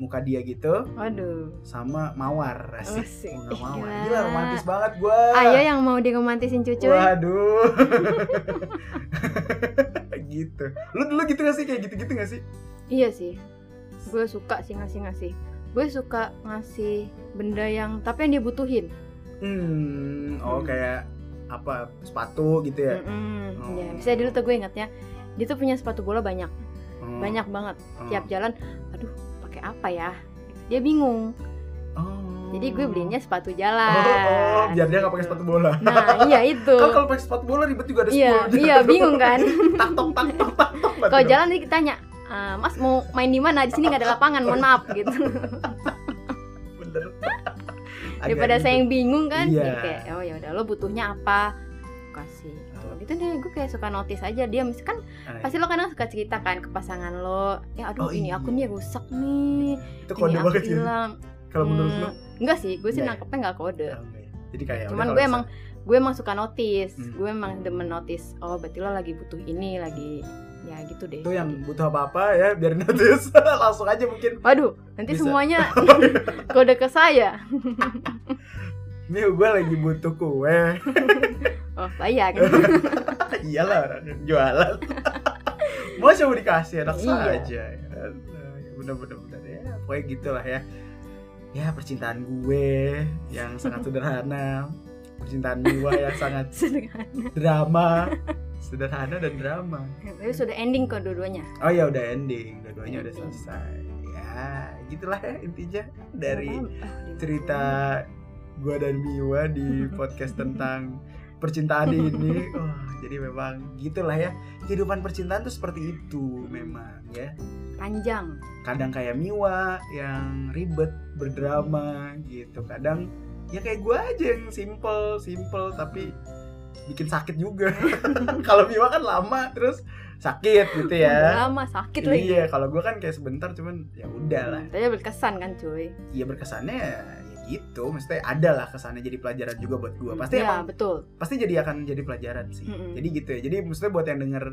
B: muka dia gitu
A: Waduh.
B: sama mawar asik Ah.
A: Asik.
B: bunga mawar
A: Gila.
B: gila romantis banget gua
A: Ayo yang mau diromantisin cucu.
B: waduh gitu lu dulu gitu gak sih kayak gitu gitu gak sih
A: Iya sih. Gue suka sih ngasih-ngasih. Gue suka ngasih benda yang tapi yang dia butuhin.
B: hmm oh
A: Hmm.
B: kayak apa sepatu gitu ya
A: Mm-mm.
B: Oh.
A: Iya, Misalnya dulu tuh gue ingatnya dia tuh punya sepatu bola banyak,
B: Hmm.
A: banyak banget.
B: Hmm.
A: Tiap jalan, aduh, pakai apa ya? Dia bingung.
B: Oh.
A: Jadi gue belinya sepatu
B: oh,
A: jalan.
B: oh, biar dia nggak pakai
A: Gitu.
B: sepatu bola
A: Nah, iya itu.
B: kan kalau pakai sepatu bola ribet juga ada
A: Iya,
B: sepatu
A: iya, bingung kan?
B: tak tok tak tok tak tok banget
A: Kalau
B: dong.
A: jalan nanti kita tanya, "Ah, Mas mau main di mana? Di sini nggak ada lapangan, mohon maaf gitu.
B: bener Agak
A: Daripada
B: ribet.
A: saya yang bingung kan,
B: gitu. Iya.
A: jadi kayak oh ya udah lo butuhnya apa? Kasih. Gitu.
B: Oh.
A: gitu deh, gue kayak suka notice aja dia misalkan
B: Ah,
A: pasti lo kadang suka cerita kan ke pasangan lo ya aduh
B: Oh,
A: ini
B: iya.
A: aku nih rusak nih
B: itu
A: ini
B: kode
A: aku
B: banget sih
A: hilang
B: kalau menurut
A: Hmm,
B: lu
A: enggak sih gue sih
B: Enggak ya?
A: nangkepnya nggak kode
B: jadi kayak
A: Cuman
B: udah
A: gue
B: kalau
A: emang- gue emang suka notice
B: Hmm.
A: gue emang demen notice oh berarti lo lagi butuh ini lagi ya gitu deh
B: itu yang butuh apa-apa ya biar notice langsung aja mungkin
A: waduh nanti
B: Bisa.
A: semuanya kode ke saya
B: nih gue lagi butuh kue
A: oh saya kan
B: iyalah orang jualan mau coba dikasih enak
A: Iya.
B: saja ya. bener-bener bener ya pokoknya gitulah ya ya percintaan gue yang sangat sederhana percintaan gue yang sangat
A: Sedangkan-
B: drama sederhana dan drama
A: tapi sudah ending kok dua-duanya
B: oh ya udah ending dua-duanya udah
A: Ending.
B: selesai ya gitulah ya intinya dari
A: Ah, di-
B: cerita gua dan Miwa di podcast tentang percintaan ini. Wah, jadi memang gitulah ya. Kehidupan percintaan tuh seperti itu memang ya.
A: panjang
B: Kadang kayak Miwa yang ribet, berdrama gitu. Kadang ya kayak gua aja yang simple, simple tapi bikin sakit juga. kalau Bima kan lama terus sakit gitu ya.
A: Lama sakit lagi.
B: Iya, kalau gua kan kayak sebentar cuman ya udahlah.
A: Tapi berkesan kan cuy.
B: Iya berkesannya ya gitu, maksudnya ada lah kesannya jadi pelajaran juga buat gua. Pasti
A: ya,
B: emang-
A: betul.
B: pasti jadi akan jadi pelajaran sih.
A: Mm-mm.
B: Jadi gitu ya. Jadi maksudnya buat yang denger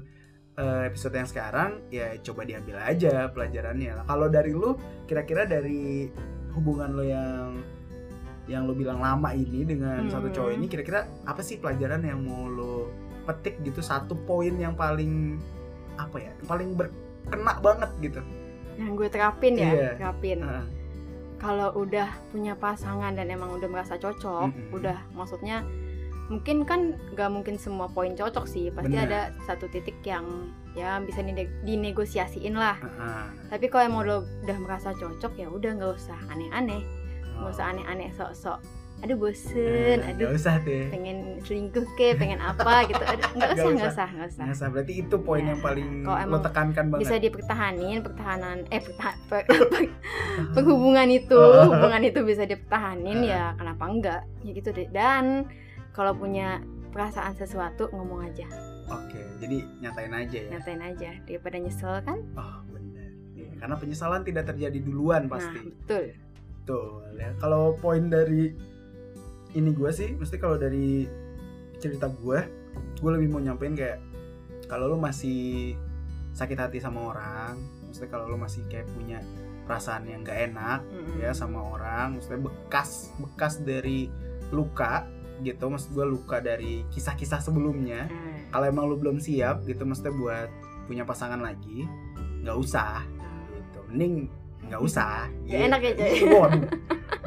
B: eh, episode yang sekarang ya coba diambil aja pelajarannya. Kalau dari lu kira-kira dari hubungan lo yang yang lo bilang lama ini dengan satu
A: Mm.
B: cowok ini kira-kira apa sih pelajaran yang mau lo petik gitu satu poin yang paling apa ya yang paling berkena banget gitu
A: Mm. Yang gue terapin ya,
B: Iya.
A: terapin.
B: Heeh.
A: Kalau udah punya pasangan dan emang udah merasa cocok,
B: Mm-mm.
A: udah maksudnya mungkin kan gak mungkin semua poin cocok sih. Pasti
B: Benar.
A: ada satu titik yang ya bisa dine- dinegosiasiin lah.
B: Heeh.
A: Tapi kalau emang lo udah merasa cocok ya udah nggak usah aneh-aneh, nggak usah
B: Oh.
A: aneh-aneh sok-sok. Aduh bosen,
B: Eh,
A: aduh
B: nggak usah deh
A: pengen selingkuh ke pengen apa gitu Aduh, nggak
B: Nggak
A: usah nggak
B: usah.
A: usah nggak usah
B: nggak usah berarti itu poin
A: Nah,
B: yang paling
A: kalau
B: lo
A: emang
B: tekankan banget
A: bisa dipertahanin pertahanan eh pertahan, per- per-
B: Ah.
A: penghubungan itu hubungan itu bisa dipertahanin ya
B: Eh.
A: kenapa enggak ya gitu deh dan kalau punya perasaan sesuatu ngomong aja
B: Oke, jadi nyatain aja ya.
A: nyatain aja daripada nyesel kan
B: Oh, benar. Iya, karena penyesalan tidak terjadi duluan
A: nah
B: pasti.
A: betul
B: Tuh, ya. kalau poin dari ini gue sih, mesti kalau dari cerita gue, gue lebih mau nyampein kayak kalau lu masih sakit hati sama orang, mesti kalau lu masih kayak punya perasaan yang gak enak
A: Mm-mm.
B: ya sama orang, mesti bekas bekas dari luka gitu, maksud gue luka dari kisah-kisah sebelumnya
A: Nah,
B: kalau emang lu belum siap gitu maksudnya buat punya pasangan lagi nggak usah gitu mending nggak usah
A: Nggak enak ya, Coy?
B: Iya, waduh.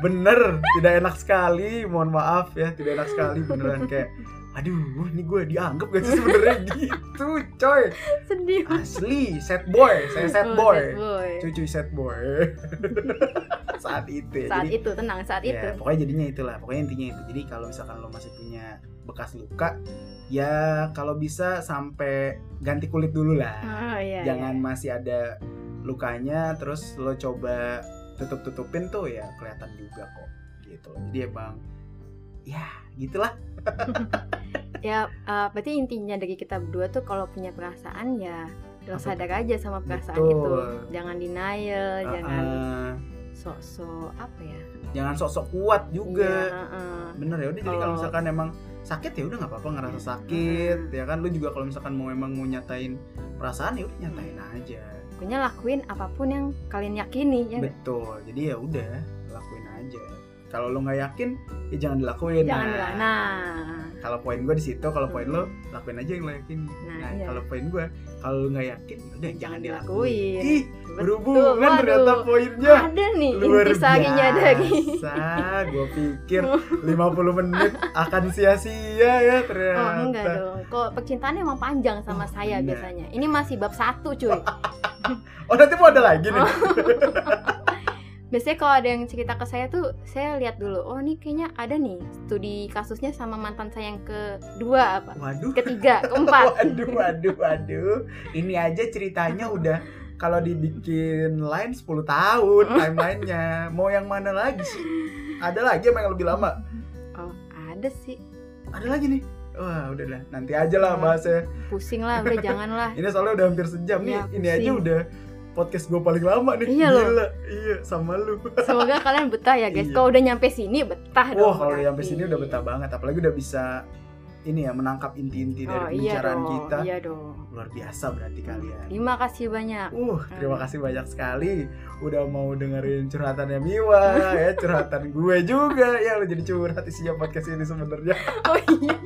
B: bener tidak enak sekali mohon maaf ya tidak enak sekali beneran kayak aduh ini gue dianggap gak sih sebenarnya gitu coy
A: sedih
B: asli sad boy saya sad
A: Oh,
B: boy cucu sad boy saat itu ya.
A: saat
B: Jadi-
A: itu tenang saat itu
B: Ya, pokoknya jadinya itulah. Pokoknya intinya itu. Jadi kalau misalkan lo masih punya bekas luka, ya kalau bisa sampai ganti kulit dulu lah.
A: oh, iya,
B: Jangan
A: iya.
B: masih ada lukanya terus lo coba tutup-tutupin tuh ya kelihatan juga kok gitu. Jadi emang ya gitulah.
A: ya eh, berarti intinya dari kita berdua tuh kalau punya perasaan ya lo
B: Apa?
A: sadar aja sama perasaan
B: Betul.
A: itu jangan denial jangan
B: Uh-uh.
A: sok-sok apa ya
B: jangan sok-sok kuat juga.
A: Iya, heeh.
B: Bener ya udah jadi kalau
A: Kalau- Iya.
B: misalkan emang sakit ya udah nggak apa-apa ngerasa sakit ya kan lu juga kalau misalkan mau emang mau nyatain perasaan ya udah nyatain
A: Hmm.
B: aja
A: pokoknya lakuin apapun yang kalian yakini ya nggak?
B: Betul. Jadi ya udah, lakuin aja. Kalau lo nggak yakin, ya jangan dilakuin.
A: jangan bilang nah
B: Kalau poin gue di situ, kalau poin
A: Hmm.
B: lo lakuin aja yang lo yakin. Nah,
A: iya.
B: kalau poin gue, kalau lo nggak yakin, ya udah jangan
A: dilakuin.
B: dilakuin. Ih, berhubungan
A: Waduh, ya. Ah,
B: ternyata poinnya.
A: ada nih
B: Luar
A: intisarinya dari
B: biasa, gue pikir 50 menit akan sia-sia ya ternyata.
A: oh enggak dong kok percintaan emang panjang sama
B: Oh,
A: saya
B: benar.
A: biasanya ini masih bab satu cuy
B: Oh, nanti mau ada lagi nih.
A: Oh. biasanya kalau ada yang cerita ke saya tuh saya lihat dulu oh ini kayaknya ada nih studi kasusnya sama mantan saya yang kedua apa
B: Waduh.
A: ketiga keempat
B: Waduh, waduh, waduh. Ini aja ceritanya udah kalau dibikin line 10
A: Oh.
B: tahun timelinenya. Mau yang mana lagi sih? Ada lagi emang yang lebih lama?
A: oh ada sih
B: Ada lagi nih. Wah, udah lah. Nanti aja lah
A: Iya.
B: bahasnya.
A: pusing lah udah jangan lah
B: Ini soalnya udah hampir sejam
A: Ya,
B: nih. Ini aja
A: pusing.
B: udah podcast gue paling lama nih.
A: Iya loh.
B: Gila. Iya, sama lu.
A: Semoga kalian betah ya guys.
B: Iya.
A: Kalau udah nyampe sini betah dong.
B: Wah, kalau
A: berarti.
B: udah sampai sini udah betah banget. Apalagi udah bisa ini ya menangkap inti-inti dari
A: Oh, iya
B: pembicaraan
A: dong,
B: kita.
A: Iya dong.
B: Luar biasa berarti kalian.
A: Terima kasih banyak.
B: Uh, terima kasih banyak sekali udah mau dengerin curhatannya Miwa ya, curhatan gue juga ya lo jadi curhat isinya podcast ini sebenarnya.
A: Oh iya.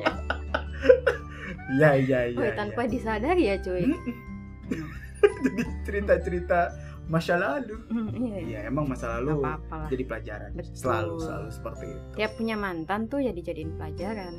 B: Iya iya iya.
A: Woy,
B: iya.
A: tanpa disadari ya cuy.
B: Hmm. jadi cerita-cerita masa lalu.
A: Hmm, Iya. iya.
B: Iya emang
A: Nggak
B: masa lalu
A: apa-apa lah.
B: jadi pelajaran
A: Betul.
B: selalu selalu seperti itu. Hmm,
A: Tiap punya mantan tuh ya dijadiin pelajaran.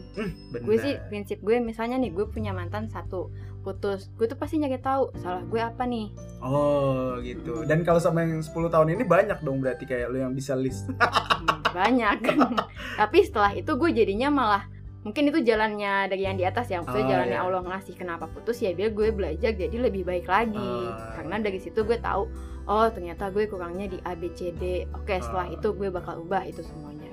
B: Benar.
A: Gue sih prinsip gue misalnya nih gue punya mantan satu putus, gue tuh pasti nyari tahu salah gue apa nih.
B: Oh gitu. Dan kalau sama yang 10 tahun ini banyak dong berarti kayak lo yang bisa list.
A: Hmm, Banyak. Tapi setelah itu gue jadinya malah mungkin itu jalannya dari yang di atas ya maksudnya
B: Oh,
A: jalannya
B: iya.
A: Allah ngasih kenapa putus ya biar gue belajar jadi lebih baik lagi
B: Oh.
A: karena dari situ gue tahu oh ternyata gue kurangnya di A B C D oke setelah
B: Oh.
A: itu gue bakal ubah itu semuanya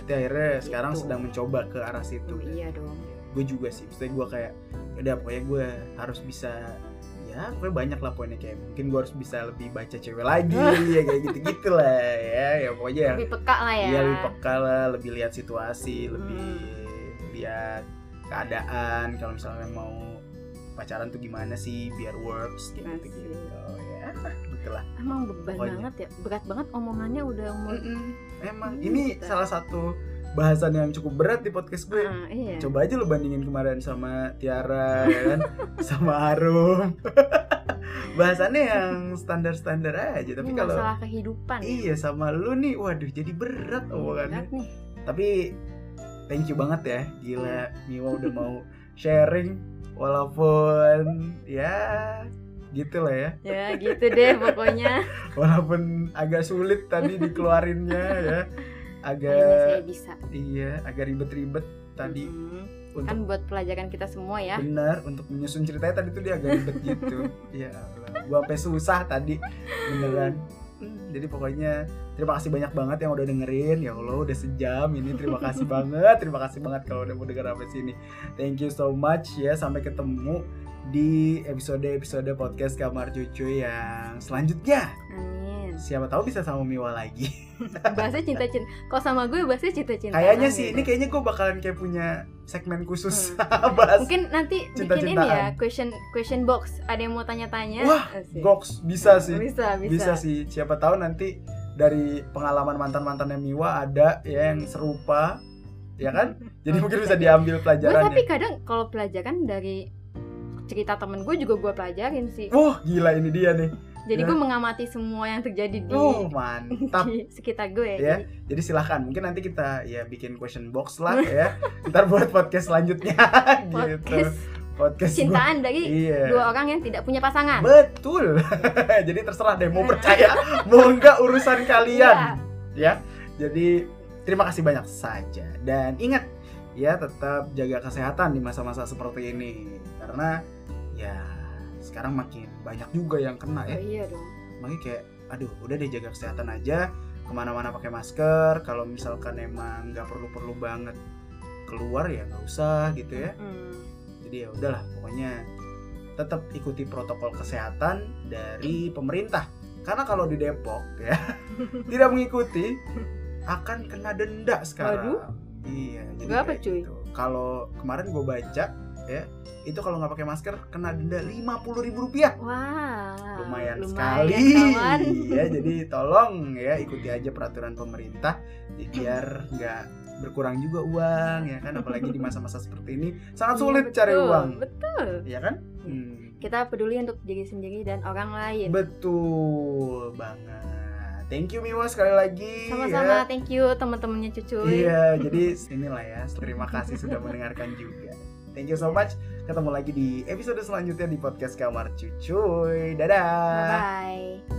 B: Berarti akhirnya sekarang
A: Gitu.
B: sedang mencoba ke arah situ.
A: Tuh, iya dong
B: gue juga sih maksudnya gue kayak ya udah pokoknya gue harus bisa ya pokoknya banyak lah poinnya kayak mungkin gue harus bisa lebih baca cewek lagi ya kayak gitu gitu lah ya ya pokoknya ya
A: lebih peka lah ya.
B: Iya lebih peka lah, lebih lihat situasi, lebih
A: Hmm.
B: lihat keadaan. Kalau misalnya mau pacaran tuh gimana sih biar works gitu
A: Asik.
B: gitu ya gitulah
A: Emang beban
B: Pokoknya.
A: banget ya, berat banget omongannya udah umur.
B: emang
A: Hmm,
B: ini
A: gitu.
B: salah satu bahasan yang cukup berat di podcast gue
A: Ah, iya.
B: coba aja lu bandingin kemarin sama Tiara ya kan sama Harum bahasannya yang standar-standar aja tapi
A: Ini
B: kalau
A: masalah kehidupan. ya.
B: iya sama lu nih waduh jadi berat
A: Ini
B: omongannya
A: Iya, berat nih.
B: tapi thank you banget ya gila Miwa udah mau sharing walaupun ya gitu lah ya
A: Ya gitu deh pokoknya.
B: walaupun agak sulit tadi dikeluarinnya
A: Iya
B: ya
A: Akhirnya saya
B: agak
A: bisa.
B: iya agak ribet-ribet tadi
A: Mm-mm.
B: untuk
A: Kan buat pelajaran kita semua ya.
B: benar untuk menyusun ceritanya tadi tuh dia agak ribet gitu ya Allah. gua sampai susah tadi beneran
A: Mm.
B: Hmm, jadi pokoknya terima kasih banyak banget yang udah dengerin ya Allah udah sejam ini terima kasih banget terima kasih banget kalau udah mau denger sampai sini thank you so much ya sampai ketemu di episode-episode podcast kamar cucu yang selanjutnya
A: Amin.
B: siapa tahu bisa sama Miwa lagi
A: Bahasnya cinta-cinta. Kalau sama gue bahasnya cinta-cinta.
B: kayaknya sih ini kayaknya gue bakalan kayak punya segmen khusus bahas
A: Hmm. Mungkin nanti bikin ini
B: Cinta-cintaan.
A: ya question question box. Ada yang mau tanya-tanya?
B: Wah,
A: Asik.
B: goks bisa sih
A: Hmm, Bisa, bisa.
B: bisa sih siapa tahu nanti dari pengalaman mantan mantannya Miwa ada ya yang serupa ya kan jadi mungkin bisa diambil
A: Gue tapi
B: pelajarannya
A: kadang kalau pelajaran dari cerita temen gue juga gue pelajarin sih.
B: wah gila ini dia nih
A: Jadi
B: ya.
A: gue mengamati semua yang terjadi di,
B: uh mantap
A: di sekitar gue.
B: Ya. jadi silahkan mungkin nanti kita ya bikin question box lah ya ntar buat podcast selanjutnya
A: Jadi
B: gitu
A: Podcast
B: podcast gua.
A: cintaan dari
B: iya
A: dua orang yang tidak punya pasangan.
B: betul jadi terserah deh mau percaya mau enggak urusan kalian
A: Iya.
B: ya. Jadi terima kasih banyak saja dan ingat ya tetap jaga kesehatan di masa-masa seperti ini karena ya sekarang makin banyak juga yang kena ya.
A: Oh, iya dong.
B: Makanya kayak aduh udah deh jaga kesehatan aja kemana-mana pakai masker kalau misalkan emang nggak perlu-perlu banget keluar ya nggak usah gitu ya
A: Hmm.
B: jadi ya udahlah pokoknya tetap ikuti protokol kesehatan dari pemerintah karena kalau di Depok ya tidak mengikuti akan kena denda sekarang
A: Waduh.
B: iya jadi
A: Berapa,
B: kayak
A: cuy?
B: gitu. kalau kemarin gue baca ya itu kalau nggak pakai masker kena denda lima puluh ribu rupiah
A: Wah.
B: lumayan, sekali
A: Ah, kawan.
B: ya jadi tolong ya ikuti aja peraturan pemerintah jadi biar nggak berkurang juga uang ya kan apalagi di masa-masa seperti ini sangat
A: Iya,
B: sulit cari
A: betul,
B: uang
A: Betul.
B: ya kan Hmm,
A: Kita peduli untuk diri sendiri dan orang lain.
B: betul banget thank you Miwa sekali lagi
A: Sama-sama,
B: ya.
A: thank you teman-temannya cucuy.
B: iya jadi inilah ya terima kasih sudah mendengarkan juga thank you so much ketemu lagi di episode selanjutnya di podcast kamar cucuy dadah
A: Bye.